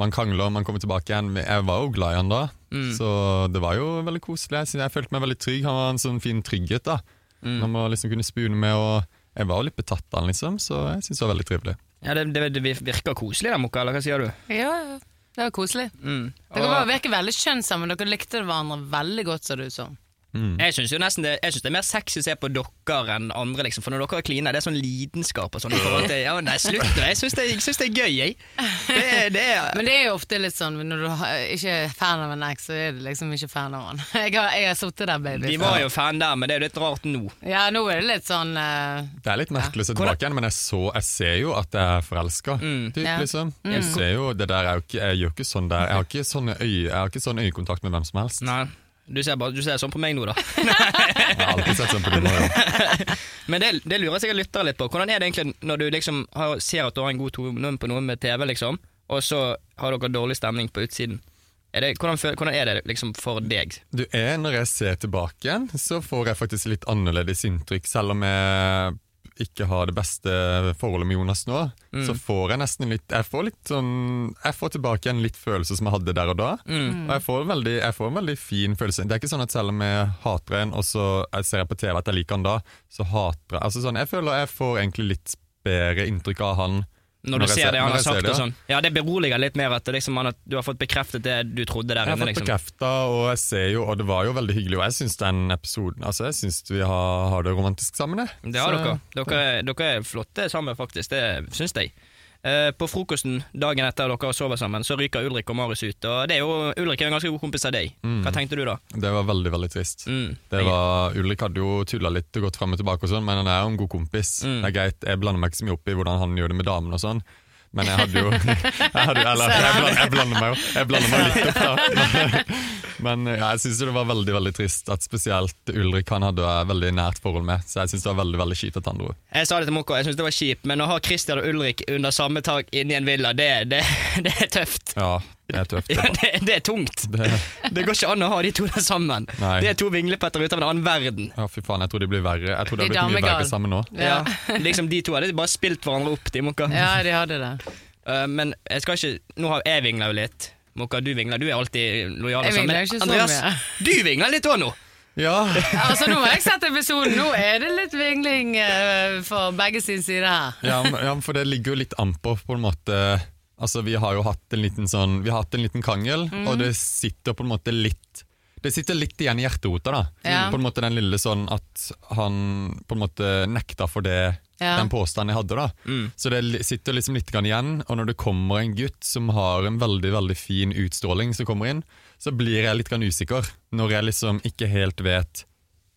Speaker 4: man krangler, man kommer tilbake igjen. Men Jeg var jo glad i han da,
Speaker 3: Mm.
Speaker 4: så det var jo veldig koselig. Jeg, synes- jeg følte meg veldig trygg. Han var en sånn fin trygghet, da.
Speaker 3: Mm.
Speaker 4: Når man liksom kunne spune med, og jeg var jo litt betatt av han, liksom, så jeg syns det var veldig trivelig.
Speaker 3: Ja, det, det, det virker koselig da, Mokka, eller hva sier du?
Speaker 2: Ja, ja. Det var koselig.
Speaker 3: Mm.
Speaker 2: Dere
Speaker 3: Og-
Speaker 2: bare virker veldig kjønnsomme. Dere likte hverandre veldig godt, så det ut som.
Speaker 4: Mm.
Speaker 3: Jeg syns jo nesten det, jeg synes det er mer sexy å se på dere enn andre, liksom. For når dere kliner, det er sånn lidenskap og sånn. i forhold til- Ja, nei, slutt nå. Jeg syns det, jeg synes det er gøy, jeg. Det, er- det er
Speaker 2: Men det er jo ofte litt sånn når du har- ikke er fan av en eks, så er du liksom ikke fan av han. Jeg har, jeg har sittet der, baby.
Speaker 3: Vi var jo fan der, men det er jo litt rart nå.
Speaker 2: Ja, nå er det litt sånn eh,
Speaker 4: Det er litt merkelig å se tilbake igjen, men jeg, så, jeg ser jo at jeg er forelska. Typ,
Speaker 2: Ja.
Speaker 4: liksom. Jeg ser jo, det der er jo ikke, jeg gjør ikke sånn der. Jeg har ikke, sånne øye, jeg har ikke sånn øyekontakt med hvem som helst.
Speaker 3: Nei. Du ser, bare, du ser sånn på meg nå, da.
Speaker 4: Jeg har alltid sett sånn på dine øyne.
Speaker 3: Men det, det lurer sikkert lyttere litt på. Hvordan er det egentlig når du liksom har, ser at du har en god tone på noe med TV, liksom, og så har dere dårlig stemning på utsiden? Er det, hvordan, føl- hvordan er det liksom for deg?
Speaker 4: Du er, når jeg ser tilbake igjen, så får jeg faktisk litt annerledes inntrykk. Selv om jeg ikke har det beste forholdet med Jonas nå,
Speaker 3: Mm.
Speaker 4: så får jeg nesten litt Jeg får litt sånn Jeg får tilbake igjen litt følelser som jeg hadde der og da.
Speaker 3: Mm.
Speaker 4: Og jeg får, veldig, jeg får en veldig fin følelse. Det er ikke sånn at selv om jeg hater en, og så jeg ser jeg på TV at jeg liker han da, så hater jeg Altså sånn, Jeg føler jeg får egentlig litt bedre inntrykk av han.
Speaker 3: Når du
Speaker 4: jeg
Speaker 3: ser det han
Speaker 4: når
Speaker 3: har
Speaker 4: jeg ser
Speaker 3: sagt
Speaker 4: det,
Speaker 3: og
Speaker 4: ja.
Speaker 3: sånn. Ja, det beroliger litt mer at det liksom, han, har- du har fått bekreftet det du trodde der
Speaker 4: Jeg har
Speaker 3: inne.
Speaker 4: fått
Speaker 3: liksom.
Speaker 4: bekrefta, og jeg ser jo, og det var jo veldig hyggelig. Og jeg syns den episoden Altså, jeg syns vi har, har det romantisk sammen, jeg.
Speaker 3: Det har
Speaker 4: Så-
Speaker 3: dere. Dere, dere er flotte sammen, faktisk. Det syns jeg. Eh, På frokosten dagen etter dere sover sammen, så ryker Ulrik og Marius ut. Og det er jo, Ulrik er jo en ganske god kompis av deg. Hva tenkte du da?
Speaker 4: Det var veldig, veldig trist.
Speaker 3: Mm.
Speaker 4: Mm. Det var, Ulrik hadde jo tulla litt og gått fram og tilbake, og sånn, men han er jo en god kompis.
Speaker 3: Mm.
Speaker 4: Det er greit, Jeg blander meg ikke så mye opp i hvordan han gjør det med damene og sånn. Men jeg hadde jo jeg hadde, jo- Eller, jeg blander, jeg blander meg jo jeg blander meg litt opp, da. Men eh, ja, jeg syns det var veldig veldig trist at spesielt Ulrik han hadde jeg veldig nært forhold med. Så jeg syns det var veldig veldig kjipt at han dro.
Speaker 3: Jeg sa det til Mokko, jeg syntes det var kjipt, men å ha Christian og Ulrik under samme tak inni en villa, det, det, det er tøft.
Speaker 4: Ja, det er tøft.
Speaker 3: Ja, det, det er tungt.
Speaker 4: Det,
Speaker 3: Det går ikke an å ha de to der sammen.
Speaker 4: Nei.
Speaker 3: Det er to vinglepetter ut av en annen verden.
Speaker 4: ja, fy faen, jeg tror de blir verre. Jeg tror det
Speaker 2: De
Speaker 4: har blitt mye
Speaker 2: damegal.
Speaker 4: verre sammen nå.
Speaker 2: Ja.
Speaker 3: Liksom De to hadde bare spilt hverandre opp, de Mokka.
Speaker 2: Ja, de hadde det.
Speaker 3: Eh, men jeg skal ikke Nå har jeg vingla jo litt. Mokka, du vingler. Du er alltid lojal. og
Speaker 2: Jeg
Speaker 3: sånn,
Speaker 2: vingler
Speaker 3: men
Speaker 2: ikke så
Speaker 3: Andreas,
Speaker 2: mye.
Speaker 3: du vingler litt òg nå!
Speaker 4: Ja,
Speaker 2: Altså, nå har jeg sett episoden. Nå er det litt vingling eh, for begge sin side her.
Speaker 4: ja, men- ja, men for det ligger jo litt an på, på en måte Altså, vi har jo hatt en liten sånn Vi har hatt en liten krangel,
Speaker 2: Mhm.
Speaker 4: og det sitter på en måte litt det sitter litt igjen i hjerterota, da.
Speaker 2: Ja.
Speaker 4: På en måte den lille sånn at han på en måte nekta for det,
Speaker 2: Ja. Mm.
Speaker 4: den påstanden jeg hadde. da. Så det li- sitter liksom litt grann igjen, og når det kommer en gutt som har en veldig veldig fin utstråling, som kommer inn, så blir jeg litt grann usikker når jeg liksom ikke helt vet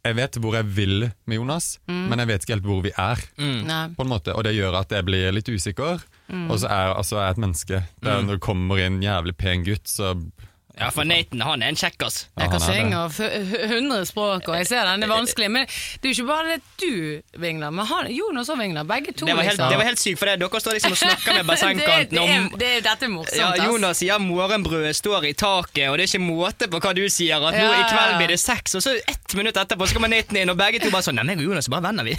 Speaker 4: Jeg vet hvor jeg vil med Jonas,
Speaker 2: Mm.
Speaker 4: men jeg vet ikke helt hvor vi er
Speaker 3: Mm.
Speaker 2: Nei.
Speaker 4: på en måte, og det gjør at jeg blir litt usikker. Og så er altså, jeg er et menneske. Det er Når det kommer en jævlig pen gutt, så
Speaker 3: Ja, for Nathan han er en kjekkas.
Speaker 2: Jeg
Speaker 4: han
Speaker 2: kan
Speaker 4: er det.
Speaker 2: synge og f- hundre språk, og jeg ser den, det er vanskelig. Men det er jo ikke bare det at du vingler, men han, Jonas òg vingler. Begge to.
Speaker 3: Det var helt,
Speaker 2: liksom.
Speaker 3: det var helt sykt, for det. dere står liksom og snakker ved
Speaker 2: det,
Speaker 3: bassengkanten
Speaker 2: det,
Speaker 3: om
Speaker 2: er, det er dette er morsomt,
Speaker 3: ja,
Speaker 2: ass.
Speaker 3: Jonas sier morgenbrødet står i taket, og det er ikke måte på hva du sier. At nå
Speaker 2: Ja,
Speaker 3: i
Speaker 2: ja,
Speaker 3: kveld
Speaker 2: ja.
Speaker 3: blir det sex, og så ett minutt etterpå så kommer Nathan inn, og begge to bare sånn Nei, meg og Jonas er bare venner, vi.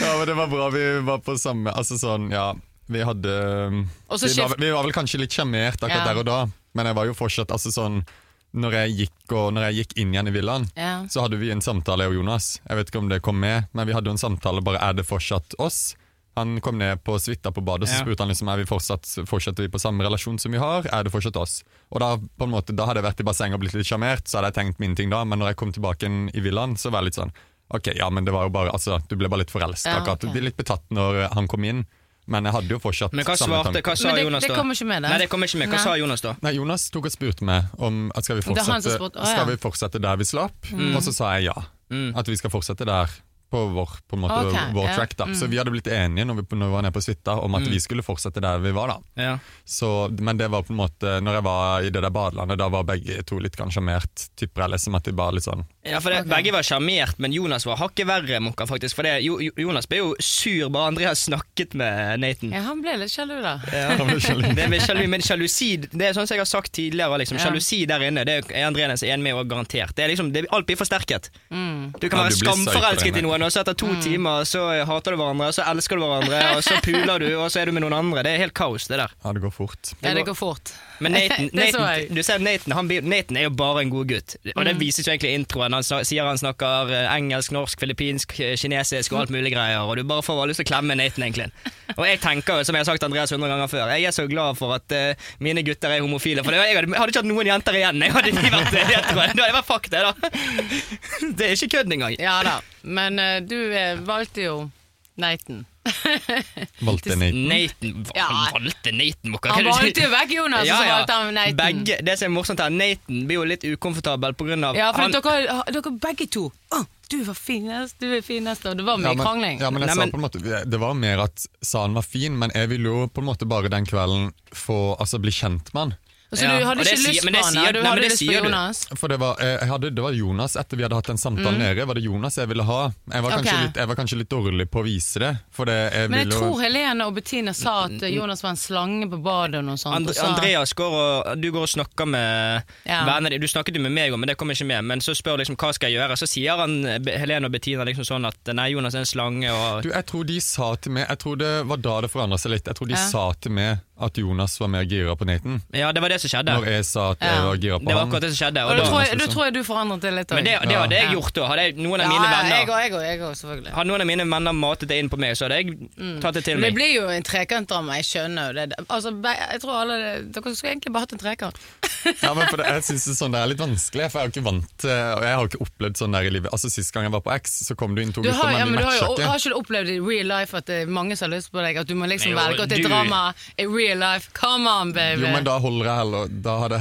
Speaker 4: Ja, men det var bra vi var på samme Altså sånn, ja. Vi hadde
Speaker 2: Og
Speaker 4: vi
Speaker 2: så
Speaker 4: var,
Speaker 2: skift-
Speaker 4: vi var vel kanskje litt sjarmert akkurat
Speaker 2: Ja.
Speaker 4: der og da, men jeg var jo fortsatt altså sånn når jeg, gikk, og når jeg gikk inn igjen i villaen,
Speaker 2: Ja.
Speaker 4: så hadde vi en samtale, jeg og Jonas. Jeg vet ikke om det kom med, men vi hadde jo en samtale bare er det fortsatt oss. Han kom ned på suita på badet og så
Speaker 3: Ja.
Speaker 4: spurte han liksom, er vi fortsatt, fortsetter vi på samme relasjon som vi har. Er det fortsatt oss? Og Da på en måte, da hadde jeg vært i bassenget og blitt litt sjarmert, så hadde jeg tenkt mine ting da, men når jeg kom tilbake inn i villaen, så var jeg litt sånn Ok, ja, men det var jo bare altså, Du ble bare litt forelsket.
Speaker 2: Ja,
Speaker 4: akkurat.
Speaker 2: ok.
Speaker 4: Du blir litt betatt når han kom inn, men jeg hadde jo fortsatt
Speaker 3: Men hva
Speaker 4: samme
Speaker 3: svarte,
Speaker 4: tanke.
Speaker 3: hva sa
Speaker 2: Men det-
Speaker 3: Jonas da?
Speaker 2: det kommer ikke med, det.
Speaker 3: Nei, det kommer ikke med. Hva
Speaker 2: Nei.
Speaker 3: sa Jonas da?
Speaker 4: Nei, Jonas tok og spurte meg om at skal vi
Speaker 2: Det er han som
Speaker 4: fortsette,
Speaker 2: spurte, å, ja.
Speaker 4: skal vi fortsette der vi slapp,
Speaker 3: Mm.
Speaker 4: og så sa jeg ja. At vi skal fortsette der på vår, på en måte,
Speaker 2: Ok,
Speaker 4: vår
Speaker 2: ja. Mm.
Speaker 4: track. da. Så vi hadde blitt enige når vi, når vi var nede på suita om
Speaker 3: Mm.
Speaker 4: at vi skulle fortsette der vi var. da.
Speaker 3: Ja.
Speaker 4: Så, men det var på en måte, når jeg var i det der badelandet, da var begge to litt grann sjarmert. Tipper jeg liksom at de bare litt sånn
Speaker 3: Ja, for det, Begge var sjarmert, men Jonas var hakket verre. Mokka, faktisk For det, jo, Jo- Jonas ble jo sur bare Andreas snakket med Nathan.
Speaker 2: Ja, han ble litt sjalu, da.
Speaker 4: da var det sjalu.
Speaker 3: Det med sjalu, men sjalusi Det er sånn som jeg har sagt tidligere. Liksom,
Speaker 2: Ja.
Speaker 3: Sjalusi der inne Det er Andreas enig med og garantert. Det er liksom, det, alt blir forsterket.
Speaker 2: Mm.
Speaker 3: Du kan
Speaker 4: Ja,
Speaker 3: være
Speaker 4: du blir psycho,
Speaker 3: skamforelsket
Speaker 4: det
Speaker 3: i noen, og så etter to timer så eh, hater du hverandre, så elsker du hverandre, og så puler du, og så er du med noen andre. Det er helt kaos, det der.
Speaker 4: Ja, det går fort.
Speaker 2: Ja, det går fort.
Speaker 3: Men Nathan,
Speaker 2: Det så jeg. Mm.
Speaker 3: Nathan, du ser Nathan, han, blir- Nathan er jo bare en god gutt. Og det vises jo egentlig i introen. Han snak- sier han snakker eh, engelsk, norsk, filippinsk, eh, kinesisk og alt mulig greier. Og du bare får bare lyst til å klemme Nathan, egentlig. Og jeg tenker jo, som jeg har sagt til Andreas 100 ganger før, jeg er så glad for at eh, mine gutter er homofile. For det, jeg hadde, jeg hadde ikke hatt noen jenter igjen. Jeg hadde de vært hetero. Da hadde jeg vært fuck det, da. Det er ikke kødd engang.
Speaker 2: Ja da. Men eh, du eh, valgte jo Nathan.
Speaker 4: Valgte en i-
Speaker 3: Nathan
Speaker 2: Ja.
Speaker 3: Han valgte Nathan, Mokka.
Speaker 2: Han
Speaker 3: Hva er det du
Speaker 2: valgte
Speaker 3: sier?
Speaker 2: jo vekk Jonas, og så valgte han Nathan.
Speaker 3: Begge, det som er morsomt her, Nathan blir jo litt ukomfortabel på grunn av
Speaker 2: Ja, for
Speaker 3: han-
Speaker 2: dere, dere begge to. Å, du var finest, du er finest, og det var mye
Speaker 4: men,
Speaker 2: krangling.
Speaker 4: ja, men jeg
Speaker 3: Nei,
Speaker 4: sa
Speaker 3: men-
Speaker 4: på en måte Det var mer at sa han var fin, men jeg ville jo på en måte bare den kvelden få, altså, bli kjent med han.
Speaker 2: så
Speaker 3: Ja,
Speaker 2: du
Speaker 3: og
Speaker 2: hadde
Speaker 3: det
Speaker 2: ikke
Speaker 3: sier-
Speaker 2: lyst
Speaker 3: men
Speaker 2: på
Speaker 3: det
Speaker 2: han?
Speaker 3: sier-
Speaker 2: ja? Du
Speaker 3: nei, men
Speaker 2: hadde
Speaker 3: det
Speaker 2: lyst på
Speaker 3: sier du.
Speaker 2: Jonas?
Speaker 4: For det var, eh, jeg hadde, det var Jonas etter vi hadde hatt den samtalen nede. Var det Jonas jeg ville ha? Jeg var, kanskje
Speaker 2: Ok.
Speaker 4: litt, jeg var kanskje litt dårlig på å vise det. For det jeg
Speaker 2: Men jeg
Speaker 4: ville jo-
Speaker 2: tror Helene og Bettina sa
Speaker 3: Mm,
Speaker 2: at eh, Jonas var en slange på badet og noe sånt.
Speaker 3: And
Speaker 2: og så-
Speaker 3: Andreas går og, du går og snakker med
Speaker 2: Ja.
Speaker 3: vennene dine. Du snakket jo med meg om, men det kom ikke med. Men så spør du liksom, hva skal jeg gjøre. Så sier han, Be- Helene og Bettina liksom sånn at nei, Jonas er en slange. Og,
Speaker 4: du, jeg tror de sa til meg Jeg tror det var da det forandra seg litt. Jeg tror de
Speaker 2: Ja.
Speaker 4: sa til meg at Jonas var mer gira på Nathan.
Speaker 3: ja, det var det som skjedde.
Speaker 4: Når jeg sa at jeg
Speaker 2: Ja.
Speaker 4: var gira på
Speaker 3: Det var
Speaker 4: han.
Speaker 3: akkurat det som skjedde.
Speaker 2: Og
Speaker 3: Og
Speaker 2: da
Speaker 3: da,
Speaker 2: tror, jeg, da tror jeg du forandret det litt òg.
Speaker 3: men det, det hadde jeg
Speaker 2: Ja.
Speaker 3: gjort da. Hadde jeg, noen av
Speaker 2: ja,
Speaker 3: mine
Speaker 2: ja, jeg
Speaker 3: venner
Speaker 2: òg, jeg òg, jeg òg, selvfølgelig.
Speaker 3: Hadde noen av mine venner matet det inn på meg, så hadde jeg tatt det til
Speaker 2: Men det
Speaker 3: meg.
Speaker 2: blir jo en trekantdrama, jeg skjønner jo det. Altså, be- jeg tror alle, Dere skulle egentlig bare hatt en trekant.
Speaker 4: Ja, men for det, jeg synes det, er sånn, det er litt vanskelig, for jeg er jo ikke vant til Og jeg har jo ikke opplevd sånn der i livet. Altså Sist gang jeg var på X, så kom du inn to
Speaker 2: Du
Speaker 4: gutter,
Speaker 2: har, ja,
Speaker 4: men
Speaker 2: men du
Speaker 4: vi
Speaker 2: har jo
Speaker 4: matcha
Speaker 2: har
Speaker 4: ikke.
Speaker 2: ikke du opplevd i real life at det er mange som har lyst på deg, at du må liksom
Speaker 3: Jo,
Speaker 2: velge at det
Speaker 3: du-
Speaker 2: er drama i real life. Come on, baby!
Speaker 4: Jo, men da holder jeg heller Da hadde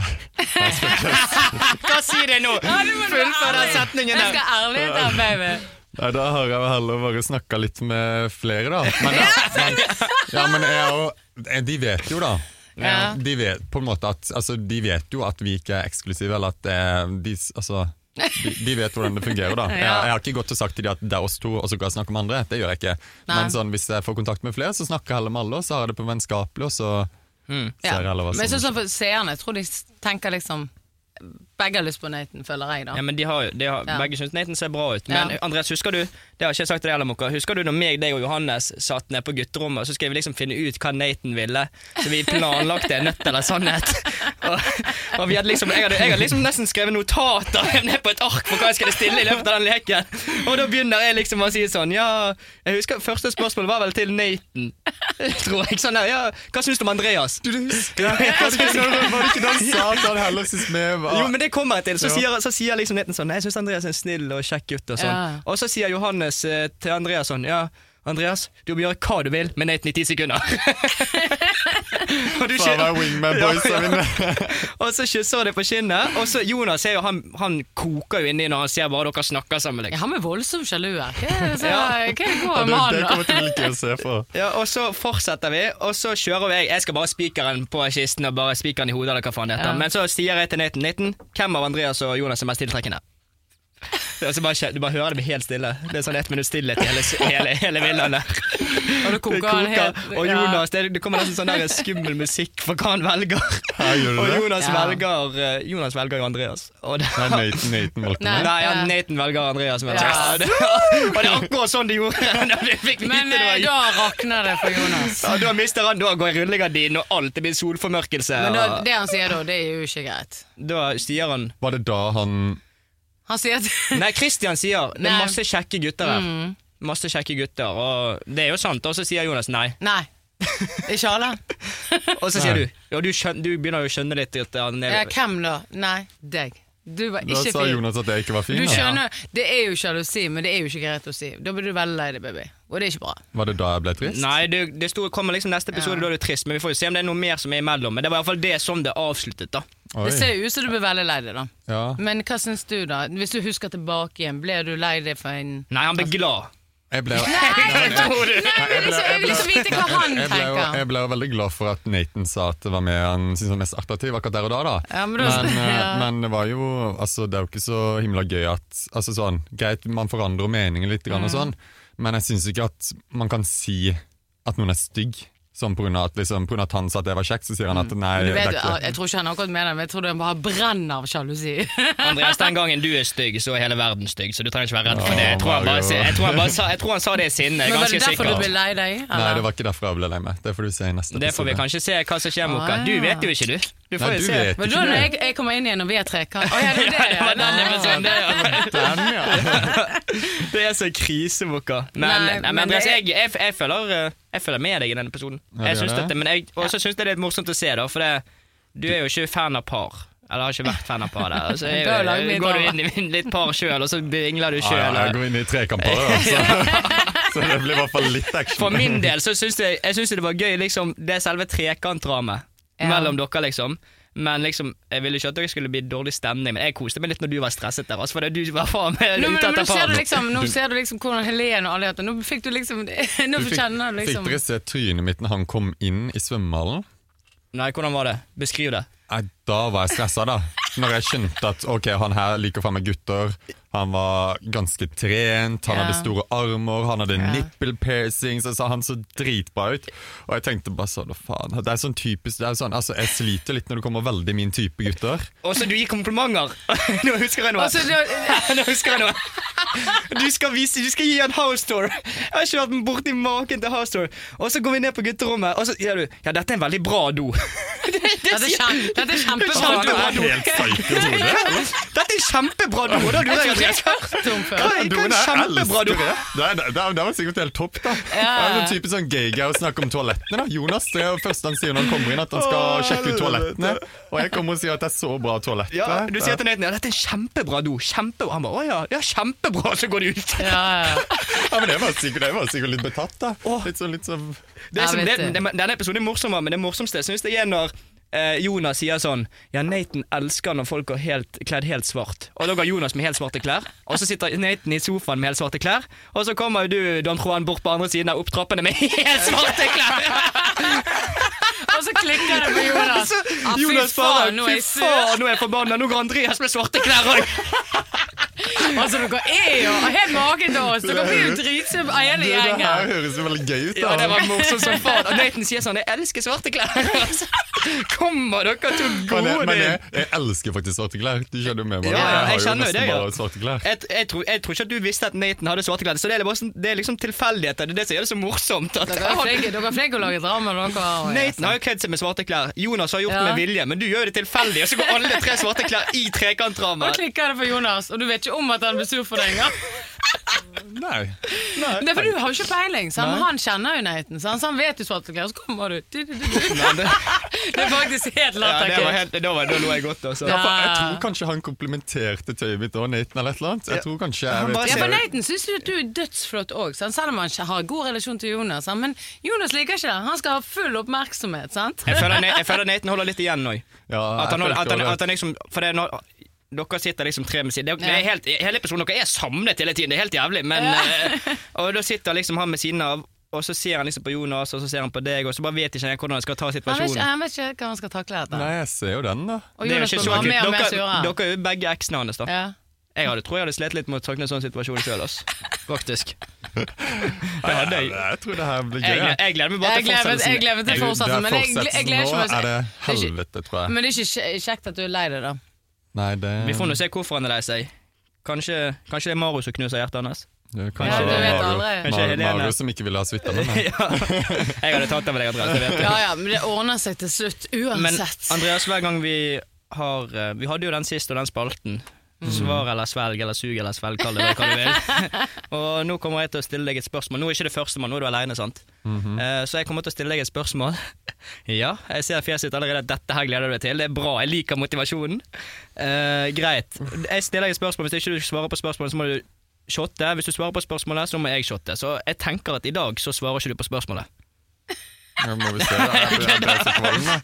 Speaker 3: Hva sier det nå?
Speaker 2: Ja, du må være
Speaker 3: Fullfør den
Speaker 2: ærlig.
Speaker 3: setningen
Speaker 2: Jeg
Speaker 3: der.
Speaker 2: skal ærlighet her, baby.
Speaker 4: Nei, da har jeg vel heller bare snakka litt med flere, da. Men, da, men, ja, men jeg, er jo- eh, de vet jo, da.
Speaker 2: Ja.
Speaker 4: De vet, på en måte at, altså, de vet jo at vi ikke er eksklusive, eller at det er de, s- altså, de, de vet hvordan det fungerer. da jeg, jeg har ikke gått og sagt til de at det er oss to, og så kan jeg snakke med andre. Det gjør jeg ikke.
Speaker 2: Nei.
Speaker 4: Men sånn, hvis jeg får kontakt med flere, så snakker jeg heller med alle, og så har jeg det på vennskapelig, og så ser jeg heller hva
Speaker 2: Mm. Men jeg synes
Speaker 4: som
Speaker 2: sånn for seerne, jeg tror de s- tenker liksom Begge har lyst på Nathan, føler jeg, da.
Speaker 3: Ja, men de har, jo- de har,
Speaker 2: Ja.
Speaker 3: Begge syns Nathan ser bra ut. Men
Speaker 2: Ja.
Speaker 3: Andreas, husker du Det har ikke jeg sagt til deg, heller, Mokka. Husker du når meg, deg og Johannes satt ned på gutterommet, så skulle vi liksom finne ut hva Nathan ville? Så vi planlagte nødt eller sannhet. Og, og vi hadde liksom, jeg, hadde, jeg hadde liksom nesten skrevet notater ned på et ark for hva jeg skulle stille i løpet av den leken. Og da begynner jeg liksom å si sånn Ja, jeg husker første spørsmål var vel til Nathan, tror jeg. Sånn der, ja, hva syns du om Andreas?
Speaker 4: Du, du husker det? Var det ikke det- var det ikke det han sa at han heller synes vi var
Speaker 3: Jo, men det kommer jeg til. Så
Speaker 4: Ah. Ja.
Speaker 3: sier, så sier liksom Nathan sånn Nei, jeg syns Andreas er en snill og kjekk gutt. Og sånn
Speaker 2: Ja.
Speaker 3: Og så sier Johannes eh, til Andreas sånn Ja, Andreas, du må gjøre hva du vil med Nathan i ti sekunder. og, du
Speaker 4: Faen,
Speaker 3: kjen-
Speaker 4: hva er wingman boysa
Speaker 3: Ja, ja.
Speaker 4: mine?
Speaker 3: og så kysser han deg på kinnet. Og så Jonas er jo, han, han koker jo inni når han ser bare dere snakker sammen.
Speaker 2: Ja,
Speaker 3: Liksom.
Speaker 2: han er voldsomt sjalu her. Hva er det som- hva er
Speaker 3: Ja.
Speaker 2: det
Speaker 4: Ja,
Speaker 2: går
Speaker 4: det,
Speaker 2: med han,
Speaker 4: det
Speaker 2: da?
Speaker 4: kommer til å like å se på.
Speaker 3: Ja, og så fortsetter vi, og så kjører jeg. Jeg skal bare spikeren på kisten og bare spikeren i hodet. eller hva faen det heter.
Speaker 2: Ja.
Speaker 3: Men så sier jeg til Nathan Nathan, hvem av Andreas og Jonas er mest tiltrekkende? Og så bare, kje- du bare hører det blir helt stille. Det er sånn ett minutts stillhet i hele, hele, hele villaen der.
Speaker 2: Og det
Speaker 3: Det
Speaker 2: koker han
Speaker 3: koker.
Speaker 2: helt.
Speaker 3: Og
Speaker 2: ja.
Speaker 3: Jonas, det, det kommer nesten sånn der skummel musikk for hva han velger.
Speaker 4: Her gjør du
Speaker 3: Og
Speaker 4: det.
Speaker 3: Jonas
Speaker 2: Ja.
Speaker 3: velger eh, Jonas velger jo Andreas. Og det,
Speaker 4: Nei, Nathan, Nathan valgte
Speaker 2: Nei.
Speaker 4: meg.
Speaker 3: Nei, ja, Nathan velger Andreas. Men,
Speaker 2: Ja.
Speaker 3: ja, det, og det er akkurat sånn de gjorde. Da vi fikk vite
Speaker 2: Men
Speaker 3: det var
Speaker 2: eh, da rakner det for Jonas.
Speaker 3: Ja, da mister han, da går rullegardinen og alt, det blir solformørkelse.
Speaker 2: Men da,
Speaker 3: og-
Speaker 2: det han sier da, det er jo ikke greit.
Speaker 3: da sier han
Speaker 4: Var det da han
Speaker 2: Han sier at
Speaker 3: Nei, Christian sier det er
Speaker 2: Nei. Mm.
Speaker 3: masse kjekke gutter her. Masse kjekke gutter, og det er jo sant. Og så sier Jonas nei.
Speaker 2: Nei. Ikke alle.
Speaker 3: Og så sier du ja, du, skjøn, du begynner jo å skjønne litt at han
Speaker 2: Ja,
Speaker 3: er
Speaker 2: hvem da? Nei, deg. Du var
Speaker 4: Da
Speaker 2: ikke
Speaker 4: sa
Speaker 2: fin.
Speaker 4: Jonas at jeg ikke var fin.
Speaker 2: Du
Speaker 4: da.
Speaker 2: skjønner, Det er jo sjalusi, men det er jo ikke greit å si. Da blir du veldig lei deg, baby. Og det er ikke bra.
Speaker 4: Var det da jeg ble trist?
Speaker 3: Nei, du, det store kommer liksom neste episode,
Speaker 2: Ja.
Speaker 3: da er du trist. Men vi får jo se om det er noe mer som er imellom. Men det var iallfall det som det avsluttet, da.
Speaker 4: Oi.
Speaker 2: Det ser jo ut som du blir veldig lei deg, da.
Speaker 4: Ja.
Speaker 2: Men hva syns du, da? Hvis du husker tilbake igjen, ble du lei deg for en
Speaker 3: Nei, han ble glad.
Speaker 4: Jeg ble
Speaker 3: Tror du?
Speaker 2: Nei, men liksom, jeg vil liksom vite hva han
Speaker 4: jeg ble, jo,
Speaker 2: tenker.
Speaker 4: jeg ble jo veldig glad for at Nathan sa at det var med han syntes var mest attraktiv akkurat der og da. da.
Speaker 2: Ja, men
Speaker 4: men,
Speaker 2: du-
Speaker 4: eh,
Speaker 2: ja.
Speaker 4: men det var jo altså, Det er jo ikke så himla gøy at altså, sånn, Greit, man forandrer meninger litt, grann og
Speaker 2: Mm.
Speaker 4: sånn, men jeg syns ikke at man kan si at noen er stygg. Sånn på grunn av at, liksom, på grunn av at han sa at jeg var kjekk, så sier han at
Speaker 2: Mm.
Speaker 4: nei,
Speaker 2: Du
Speaker 4: det er
Speaker 2: vet,
Speaker 4: ikke
Speaker 2: jeg tror ikke han akkurat mener det, men jeg tror han bare brenner av sjalusi.
Speaker 3: Andreas, den gangen du er stygg, så er hele verden stygg, så du trenger ikke være redd for det. Jeg tror han, bare,
Speaker 4: Mario.
Speaker 3: sier- jeg tror han, bare sa, jeg tror han sa det i sinne. jeg
Speaker 2: Men
Speaker 3: er
Speaker 2: Var det
Speaker 3: Ganske
Speaker 2: derfor du
Speaker 3: sikker.
Speaker 2: ble lei deg?
Speaker 4: Nei, det
Speaker 2: Eller?
Speaker 4: var ikke derfor jeg ble lei meg. Det får du se i neste
Speaker 3: Det får vi kanskje se hva som skjer, Moka.
Speaker 2: Ah,
Speaker 3: Du
Speaker 2: ja.
Speaker 3: vet jo ikke, du. Du får jo
Speaker 4: Nei, du
Speaker 3: se.
Speaker 4: vet
Speaker 2: Men
Speaker 4: ikke
Speaker 2: da når
Speaker 4: det.
Speaker 2: jeg, jeg kommer inn igjen og vi er tre hva- Å ja, det var det,
Speaker 3: Det var den
Speaker 2: ja.
Speaker 3: episoden, det, ja.
Speaker 4: Den, ja.
Speaker 3: det er så krise, Moka. Men,
Speaker 2: Nei,
Speaker 3: nei, men
Speaker 2: men
Speaker 3: Andreas,
Speaker 2: det er-
Speaker 3: jeg, jeg, jeg, føler, eh, jeg føler med deg i denne episoden.
Speaker 4: Ja,
Speaker 3: Jeg
Speaker 4: det
Speaker 3: syns
Speaker 4: gjør det.
Speaker 3: dette, men jeg, også syns jeg det er litt morsomt å se, da, for det, du er jo ikke fan av par. Eller har ikke vært fan av par der. Så
Speaker 2: Da lager vi
Speaker 3: går du
Speaker 2: drama.
Speaker 3: inn i litt par sjøl, og så vingler du
Speaker 4: Ja,
Speaker 3: sjøl.
Speaker 4: ja, jeg går inn i trekamper, da, så, så det blir i hvert fall litt action.
Speaker 3: For min del så syns jeg, jeg synes det var gøy, liksom, det selve trekantdramet
Speaker 2: Ja.
Speaker 3: mellom dere, liksom. Men liksom, jeg ville ikke at dere skulle bli dårlig stemning, men jeg koste meg litt når du var stresset der. Altså, for det du var faen meg
Speaker 2: Nå, men,
Speaker 3: ute
Speaker 2: nå,
Speaker 3: etter
Speaker 2: ser du
Speaker 3: faen.
Speaker 2: liksom, nå ser du liksom hvordan Helene og alle heter. Nå fikk du liksom Nå
Speaker 4: Du
Speaker 2: får
Speaker 4: fikk,
Speaker 2: kjenne du liksom
Speaker 4: fikk dere se trynet mitt når han kom inn i svømmehallen?
Speaker 3: Nei, hvordan var det? Beskriv det.
Speaker 4: Nei, da var jeg stressa, da. Når jeg skjønte at ok, han her liker faen meg gutter. Han var ganske trent, han
Speaker 2: Ja.
Speaker 4: hadde store armer, han hadde
Speaker 2: Ja.
Speaker 4: nipple piercings. Altså, han så dritbra ut. Og jeg tenkte bare sånn, «Å, faen. Det er sånn typisk det er sånn, altså, Jeg sliter litt når det kommer veldig min type gutter.
Speaker 3: Og så du gir komplimenter! Nå husker jeg noe.
Speaker 2: Og så da-
Speaker 3: Nå husker jeg noe. Du skal, vise, du skal gi en house tour. Jeg har ikke vært borti maken til house tour. Og så går vi ned på gutterommet, og så sier du ja, dette er en veldig bra do. Det- det
Speaker 2: Dette er
Speaker 3: sier-
Speaker 2: kjem- dette er kjempebra.
Speaker 3: Kjempebra.
Speaker 2: Anne.
Speaker 3: do.
Speaker 4: Helt psycho, Tore.
Speaker 3: Dette er en kjempebra do! Og da lurer jeg
Speaker 2: Jeg
Speaker 3: Andreas,
Speaker 2: har ikke hørt om før.
Speaker 3: Hva er-
Speaker 4: Doen er
Speaker 3: kjempebra do.
Speaker 4: elsker det. Det, er- det, er- det var sikkert helt topp, da. Det er sånn typisk sånn gay-gay å snakke om toalettene. da Jonas det er jo første han sier når han kommer inn, at han skal sjekke ut toalettene. Og jeg kommer og sier at det er så bra toalett.
Speaker 3: Ja,
Speaker 4: der.
Speaker 3: du sier til Nathan ja, dette er en kjempebra do. Kjempebra. Han bare å ja, ja, kjempebra, så går de ut.
Speaker 2: Ja, ja.
Speaker 4: ja, men det var sikkert, det var sikkert litt betatt, da.
Speaker 3: Åh.
Speaker 4: Litt sånn, litt sånn
Speaker 3: Det er som,
Speaker 2: Ja,
Speaker 3: det,
Speaker 2: vet du.
Speaker 3: det- denne episoden er morsommere, men det morsomste syns jeg er når eh, Jonas sier sånn Ja, Nathan elsker når folk er helt, kledd helt svart. Og da går Jonas med helt svarte klær, og så sitter Nathan i sofaen med helt svarte klær, og så kommer jo du, Don Juan, bort på andre siden av opptrappene med helt svarte klær.
Speaker 2: Å, og så klikker det på Jonas. Ah, fy
Speaker 3: Jonas bare
Speaker 2: faen, nå er
Speaker 3: Fy
Speaker 2: jeg sur.
Speaker 3: faen, nå er jeg forbanna! Nå går Andreas med svarte klær òg!
Speaker 2: Altså, dere er jo helt makedås. Dere blir jo dritsure, hele
Speaker 4: Det, det her
Speaker 2: gjengen.
Speaker 4: høres jo veldig gøy ut.
Speaker 3: Ja, det
Speaker 4: da.
Speaker 3: var morsomt som faen. Og Nathan sier sånn 'Jeg elsker svarte klær'. Altså, Kommer dere til
Speaker 4: Men, jeg,
Speaker 3: gode
Speaker 4: men jeg,
Speaker 3: din?
Speaker 4: jeg elsker faktisk svarte klær. Du skjønner jo med meg.
Speaker 3: Ja, ja, jeg
Speaker 4: jeg har jo
Speaker 3: kjenner jo
Speaker 4: nesten
Speaker 3: det, ja.
Speaker 4: bare svarte klær.
Speaker 3: Jeg, jeg, tror, jeg tror ikke at du visste at Nathan hadde svarte klær. Så det er, bare, sånn- det er liksom tilfeldigheter. Det er det som gjør det så morsomt. At
Speaker 2: Dere er flinke, dere er flinke å lage drama. Dere
Speaker 3: Nathan har jo kledd seg med svarte klær. Jonas har gjort det
Speaker 2: sånn. Ja.
Speaker 3: med vilje, men du gjør jo det tilfeldig. Og så går alle tre svarte klær i
Speaker 2: Og
Speaker 3: trekantdramaet.
Speaker 2: klikker det på Jonas, og du vet ikke om at han blir sur for deg engang.
Speaker 4: Nei.
Speaker 2: Det er for du har jo ikke peiling. Sant? Men
Speaker 3: Nei.
Speaker 2: han kjenner jo Nathan, sant? så han vet jo svarte klær. Og så kommer du. Du, du, du, du.
Speaker 3: Nei, det-
Speaker 2: Det er faktisk helt
Speaker 3: Ja, det var
Speaker 2: latterkult.
Speaker 3: helt, da, var, da lo jeg godt, altså.
Speaker 2: Ja.
Speaker 4: Jeg tror kanskje han komplimenterte tøyet mitt og Nathan eller et eller annet.
Speaker 3: Ja.
Speaker 4: Jeg tror kanskje
Speaker 3: Han
Speaker 4: jeg
Speaker 3: bare
Speaker 4: vet
Speaker 2: Ja,
Speaker 3: ser
Speaker 2: for
Speaker 4: ikke.
Speaker 2: Nathan syns jo at du er dødsflott òg, selv om han ikke har god relasjon til Jonas. Sant? Men Jonas liker ikke det. Han skal ha full oppmerksomhet. sant?
Speaker 3: Jeg føler, Na- jeg føler Nathan holder litt igjen òg.
Speaker 4: Ja,
Speaker 3: At han,
Speaker 4: jeg
Speaker 3: holder- at
Speaker 4: følte
Speaker 3: han,
Speaker 4: det.
Speaker 3: at han liksom For det er når dere sitter liksom tre med siden det, det er helt, Hele episoden dere er samlet hele tiden, det er helt jævlig. Men, eh, og da sitter liksom han med siden av, og så ser han liksom på Jonas, og så ser han på deg, og så bare vet ikke han hvordan han skal ta
Speaker 2: Han vet, ikke,
Speaker 3: situasjonen.
Speaker 2: han vet ikke hva han skal takle dette.
Speaker 4: Nei, jeg ser jo den, da.
Speaker 2: Og
Speaker 3: Det er jo
Speaker 2: Jonas
Speaker 3: ikke
Speaker 2: blir
Speaker 3: så
Speaker 2: bare
Speaker 3: akutt.
Speaker 2: mer og mer
Speaker 3: Dere,
Speaker 2: sure.
Speaker 3: dere er jo begge eksene hans, da.
Speaker 2: Ja.
Speaker 3: Jeg hadde, tror jeg hadde slitt litt med å takle en sånn situasjon sjøl, ass. Faktisk. Det hadde jeg.
Speaker 4: Jeg tror det her blir
Speaker 3: Jeg,
Speaker 4: gøy.
Speaker 3: gleder- jeg gleder meg bare
Speaker 2: Jeg
Speaker 3: til
Speaker 2: gleder
Speaker 3: fortsettelsen.
Speaker 2: jeg gleder meg
Speaker 4: Jeg-
Speaker 2: til fortsettelsen, men jeg, jeg, jeg gleder
Speaker 4: Nå
Speaker 2: ikke
Speaker 4: er det
Speaker 2: meg. ikke-
Speaker 4: helvete, tror jeg.
Speaker 2: Men det er ikke kje- kjekt at du er lei deg, da.
Speaker 4: Nei, det
Speaker 3: Vi får nå se hvorfor han er lei seg. Kanskje, kanskje det er Mario som knuser hjertet hans.
Speaker 4: det er
Speaker 2: Ja,
Speaker 4: Kanskje
Speaker 2: du
Speaker 4: det
Speaker 2: vet
Speaker 4: var Mario.
Speaker 2: aldri.
Speaker 3: Kanskje
Speaker 4: Mario,
Speaker 3: Helene.
Speaker 4: Mario som ikke ville ha suita med meg.
Speaker 3: ja. Jeg hadde tatt av deg, Andreas. det vet jeg.
Speaker 2: Ja ja, men det ordner seg til slutt
Speaker 3: Men
Speaker 2: uansett.
Speaker 3: Andreas, hver gang vi har eh, Vi hadde jo den sist og den spalten. Svar eller svelg eller sug eller svelg, kall det hva du vil. og nå kommer jeg til å stille deg et spørsmål. Nå er ikke det første, mann, nå er du aleine, sant? Eh, så jeg kommer til å stille deg et spørsmål. ja, jeg ser fjeset ditt allerede. Dette her gleder du deg til. Det er bra. Jeg liker motivasjonen. Eh, greit. Jeg stiller deg et spørsmål. Hvis ikke du svarer på spørsmålet, så må du shotte. Hvis du svarer på spørsmålet, så må jeg shotte. Så jeg tenker at i dag så svarer ikke du på spørsmålet.
Speaker 4: Ja, Må vi se, da. Jeg ble- jeg ble så kvalm, da.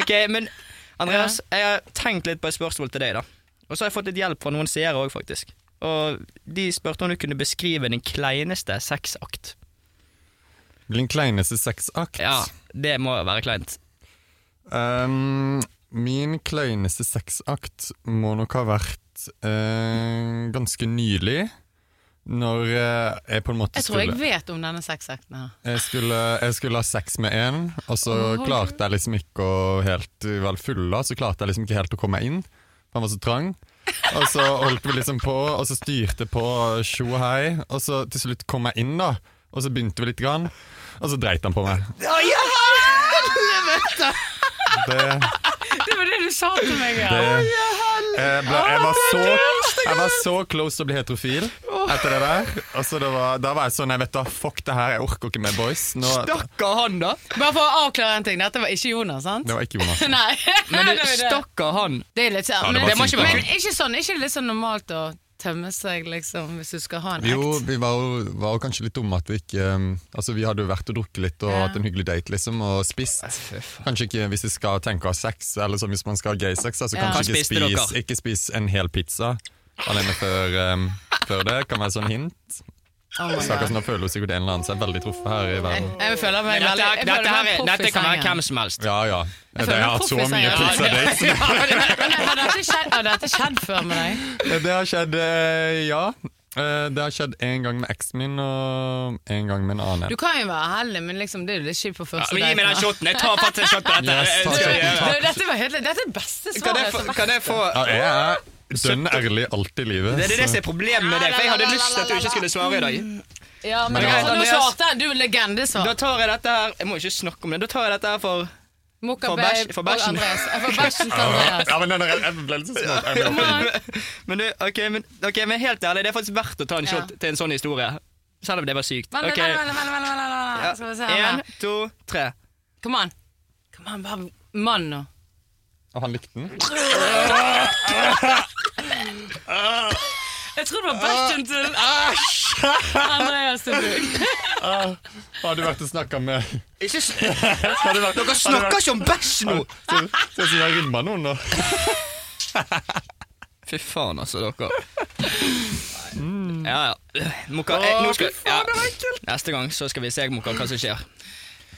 Speaker 3: Ok, men Andreas, jeg har tenkt litt på et spørsmål til deg, da. Og så har jeg fått litt hjelp fra noen seere òg, faktisk. Og de spurte om du kunne beskrive din kleineste sexakt.
Speaker 4: Min kleineste sexakt.
Speaker 3: Ja, det må være kleint.
Speaker 4: Ehm, min kleineste sexakt må nok ha vært eh, ganske nylig. Når eh, jeg på en måte
Speaker 2: Jeg tror
Speaker 4: skulle
Speaker 2: jeg vet om denne sexakten her.
Speaker 4: Jeg skulle, jeg skulle ha sex med en, og så
Speaker 2: Åh.
Speaker 4: klarte jeg liksom ikke å helt vel fulla, så klarte jeg liksom ikke helt å komme meg inn. for Han var så trang. Og så holdt vi liksom på, og så styrte på tjo og hei, og så til slutt kom jeg inn, da. Og så begynte vi litt, grann, og så dreit han på meg. Det,
Speaker 2: Det var det du sa til meg.
Speaker 4: det,
Speaker 2: Ja.
Speaker 4: jeg, ble, jeg, var så, jeg var så close til å bli heterofil etter det der. Og så det var, da var jeg sånn, jeg vet da, fuck det her, jeg orker ikke mer boys. Nå,
Speaker 3: Stakkar han, da!
Speaker 2: Bare for å avklare en ting. Dette var ikke Jonas, sant?
Speaker 4: det var ikke Jonas.
Speaker 2: Nei.
Speaker 3: Men
Speaker 2: det
Speaker 3: du,
Speaker 2: var det.
Speaker 3: stakkar han.
Speaker 2: Det er litt sånn,
Speaker 4: Ja, det
Speaker 2: men,
Speaker 4: var
Speaker 2: det må
Speaker 4: sykt
Speaker 2: ikke,
Speaker 4: bra.
Speaker 2: men ikke sånn, ikke litt sånn normalt å tømme seg, liksom, hvis du skal ha en
Speaker 4: Jo,
Speaker 2: act?
Speaker 4: vi var jo, var jo kanskje litt dumme at vi ikke um, Altså, vi hadde jo vært og drukket litt og
Speaker 2: Ja.
Speaker 4: hatt en hyggelig date, liksom, og spist. Kanskje ikke hvis vi skal tenke å ha sex, eller sånn hvis man skal ha gay sex, altså
Speaker 2: Ja.
Speaker 3: Hva
Speaker 4: kanskje ikke
Speaker 3: spiste dere?
Speaker 4: spis, ikke spis en hel pizza alene før, um, før det. Kan være sånn hint.
Speaker 2: Oh my
Speaker 4: Stakkars,
Speaker 2: God.
Speaker 4: nå føler hun sikkert en eller annen seg veldig truffet her i
Speaker 2: Jeg,
Speaker 4: verden.
Speaker 2: jeg føler meg
Speaker 3: Men dette,
Speaker 2: veldig- jeg føler
Speaker 3: dette,
Speaker 2: meg
Speaker 3: her,
Speaker 2: proff
Speaker 3: er-
Speaker 2: i
Speaker 3: dette kan være
Speaker 2: sengen.
Speaker 3: hvem som helst.
Speaker 4: Ja, ja. Jeg,
Speaker 2: føler
Speaker 4: jeg
Speaker 2: meg
Speaker 4: har hatt så
Speaker 2: proff i
Speaker 4: mye
Speaker 2: senga.
Speaker 4: pizzadates.
Speaker 2: Men Har dette skjedd, har dette skjedd før med deg?
Speaker 4: Det har skjedd, eh, ja. Eh, Det har skjedd en gang med eksen min, og en gang med en annen.
Speaker 2: Du kan jo være heldig, men liksom, det er jo litt kjipt på
Speaker 3: Ja,
Speaker 2: første
Speaker 3: men gi meg den
Speaker 2: date.
Speaker 3: shoten! Jeg tar faktisk en shot på dette.
Speaker 4: Yes,
Speaker 3: Jeg
Speaker 4: ta
Speaker 3: skal
Speaker 4: shoten,
Speaker 3: gjøre det.
Speaker 4: ta.
Speaker 2: Du, Dette var helt, dette er beste
Speaker 3: Kan jeg
Speaker 2: svaret.
Speaker 3: få,
Speaker 2: som-
Speaker 3: kan jeg få
Speaker 4: Ja, jeg er dønn ærlig alt i livet.
Speaker 3: Det er det
Speaker 4: så-
Speaker 3: som er problemet med deg, for jeg hadde lyst til at du ikke skulle svare i dag.
Speaker 2: Ja, men
Speaker 4: Men
Speaker 2: altså,
Speaker 3: greit,
Speaker 2: nå
Speaker 3: Andreas.
Speaker 2: svarte jeg. Du er legendesvar.
Speaker 3: Da tar jeg dette her Jeg må ikke snakke om det. Da tar jeg dette her for
Speaker 2: Mokka
Speaker 3: for bæsj-
Speaker 2: Babe
Speaker 3: for
Speaker 2: og
Speaker 3: bæsjen.
Speaker 2: Andreas. Jeg får bæsjen til Andreas.
Speaker 4: Ja, men den er, jeg ble litt sånn så smått. Jeg ble-
Speaker 3: men, du, ok, men, ok, men helt ærlig, det er faktisk verdt å ta en
Speaker 2: Ja.
Speaker 3: shot til en sånn historie. Selv om det var sykt.
Speaker 2: Vent, vent,
Speaker 3: Ok,
Speaker 2: vent, vent, vent, vent, vent, vent, vent. Skal vi se
Speaker 3: En,
Speaker 2: her.
Speaker 3: to, tre.
Speaker 2: Kom an. Kom an, bare mann nå.
Speaker 4: Og han likte den.
Speaker 2: Jeg tror det var bæsjen til Andreas til Bugg.
Speaker 4: Har du vært og snakka med
Speaker 3: Ikke s-
Speaker 4: Har du vært
Speaker 3: Dere snakker ikke om bæsj nå!
Speaker 4: Ser ut som jeg rimma noen nå.
Speaker 3: Fy faen, altså, dere. eh, Ja, ja. Mokka, jeg, nå skal, ja. Neste gang så skal vi se Mokka, hva som skjer.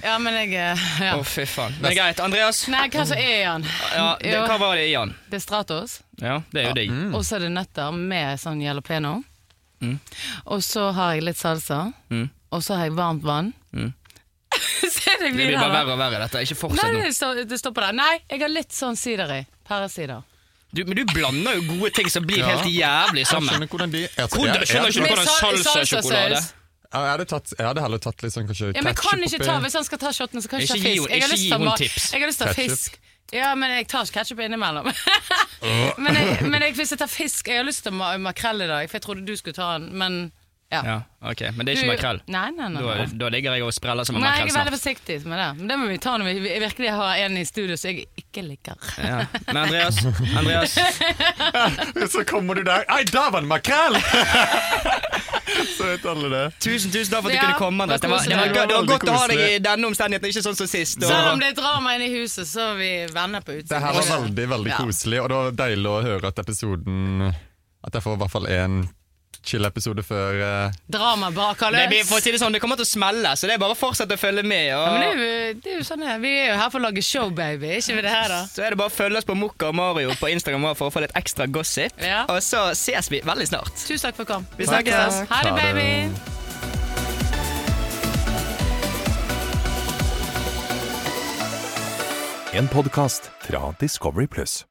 Speaker 2: Ja, men jeg eh,
Speaker 3: Å,
Speaker 2: ja.
Speaker 3: fy faen. Men greit. Andreas,
Speaker 2: Nei, hva så er i han?
Speaker 3: ja, det,
Speaker 2: Jo, Mm.
Speaker 3: hva var det i han?
Speaker 2: det er Stratos.
Speaker 3: Ja, det er jo digg.
Speaker 2: Og så er det nøtter med sånn jalapeno.
Speaker 3: Mm.
Speaker 2: Og så har jeg litt salsa.
Speaker 3: Mm.
Speaker 2: Og så har jeg varmt vann.
Speaker 3: Mm.
Speaker 2: Ser deg
Speaker 3: Det blir bare
Speaker 2: videre.
Speaker 3: verre og verre, dette. Ikke
Speaker 2: Nei,
Speaker 3: fortsett nå.
Speaker 2: det står, det står på der. Nei, jeg har litt sånn sider i. Pæresider.
Speaker 3: Du, men du blander jo gode ting som blir
Speaker 4: Ja.
Speaker 3: helt jævlig
Speaker 4: Jeg
Speaker 3: sammen.
Speaker 4: skjønner hvordan de er
Speaker 3: Hvordan-
Speaker 4: jeg-
Speaker 3: skjønner ikke
Speaker 4: jeg,
Speaker 3: du
Speaker 2: Med
Speaker 3: hvordan
Speaker 2: sal-
Speaker 3: salsa er sjokolade?
Speaker 2: salsasaus.
Speaker 4: jeg, hadde tatt, jeg hadde heller tatt litt sånn
Speaker 2: Ja,
Speaker 4: kanskje
Speaker 2: men jeg kan
Speaker 4: ketchup
Speaker 2: ikke ta, Hvis han skal ta shotten, så kan jeg ikke ta
Speaker 3: Ikke gi
Speaker 2: fisk.
Speaker 3: henne-
Speaker 2: Jeg har
Speaker 3: ikke
Speaker 2: lyst
Speaker 3: gi
Speaker 2: til å
Speaker 3: henne
Speaker 2: ha-
Speaker 3: tips.
Speaker 2: Jeg har lyst til å ha
Speaker 4: Ketchup.
Speaker 2: fisk. Ja, men jeg tar ikke ketsjup innimellom. men, jeg, men jeg, hvis jeg tar fisk Jeg har lyst til ma- makrell i dag, for jeg trodde du skulle ta den, men ja.
Speaker 3: Ja, ok, Men det er ikke
Speaker 2: Du-
Speaker 3: makrell.
Speaker 2: Nei, nei, nei.
Speaker 3: Da,
Speaker 2: nei.
Speaker 3: da ligger jeg og spreller som en
Speaker 2: Nei, jeg
Speaker 3: makrell
Speaker 2: er veldig
Speaker 3: snart.
Speaker 2: forsiktig med det. Men det må vi ta når vi virkelig har en i studio som jeg ikke liker.
Speaker 3: Ja. Men Andreas, Andreas
Speaker 4: Og så kommer du der Ei, der var det makrell! så vet alle det.
Speaker 3: tusen tusen takk for at du
Speaker 2: Ja,
Speaker 3: kunne komme. Andreas. Det var, det var,
Speaker 2: koselig.
Speaker 3: gø- det var
Speaker 4: Veldig
Speaker 3: godt å ha deg i
Speaker 4: koselig.
Speaker 3: denne omstendigheten, ikke sånn som sist. Og,
Speaker 2: Selv om det er drama inne i huset, så er vi venner på utsiden.
Speaker 4: Det her var veldig veldig
Speaker 2: Ja.
Speaker 4: koselig, og det var deilig å høre at episoden At jeg får i hvert fall én chill-episode før eh,
Speaker 2: Drama bak
Speaker 3: det, blir,
Speaker 2: løs.
Speaker 3: for å si det sånn, det kommer til å smelle, så det er bare å fortsette å følge med. Og,
Speaker 2: Ja, men det er, jo, det er jo sånn det er. Vi er jo her for å lage show, baby. Er Ikke vi det her, da?
Speaker 3: Så er det bare å følge oss på Mokka og Mario på Instagram også for å få litt ekstra gossip.
Speaker 2: Ja.
Speaker 3: Og så ses vi veldig snart.
Speaker 2: Tusen takk for at du kom.
Speaker 3: Vi snakkes.
Speaker 2: Ha det,
Speaker 4: Ha det.
Speaker 2: baby.
Speaker 1: En podkast fra Discovery Pluss.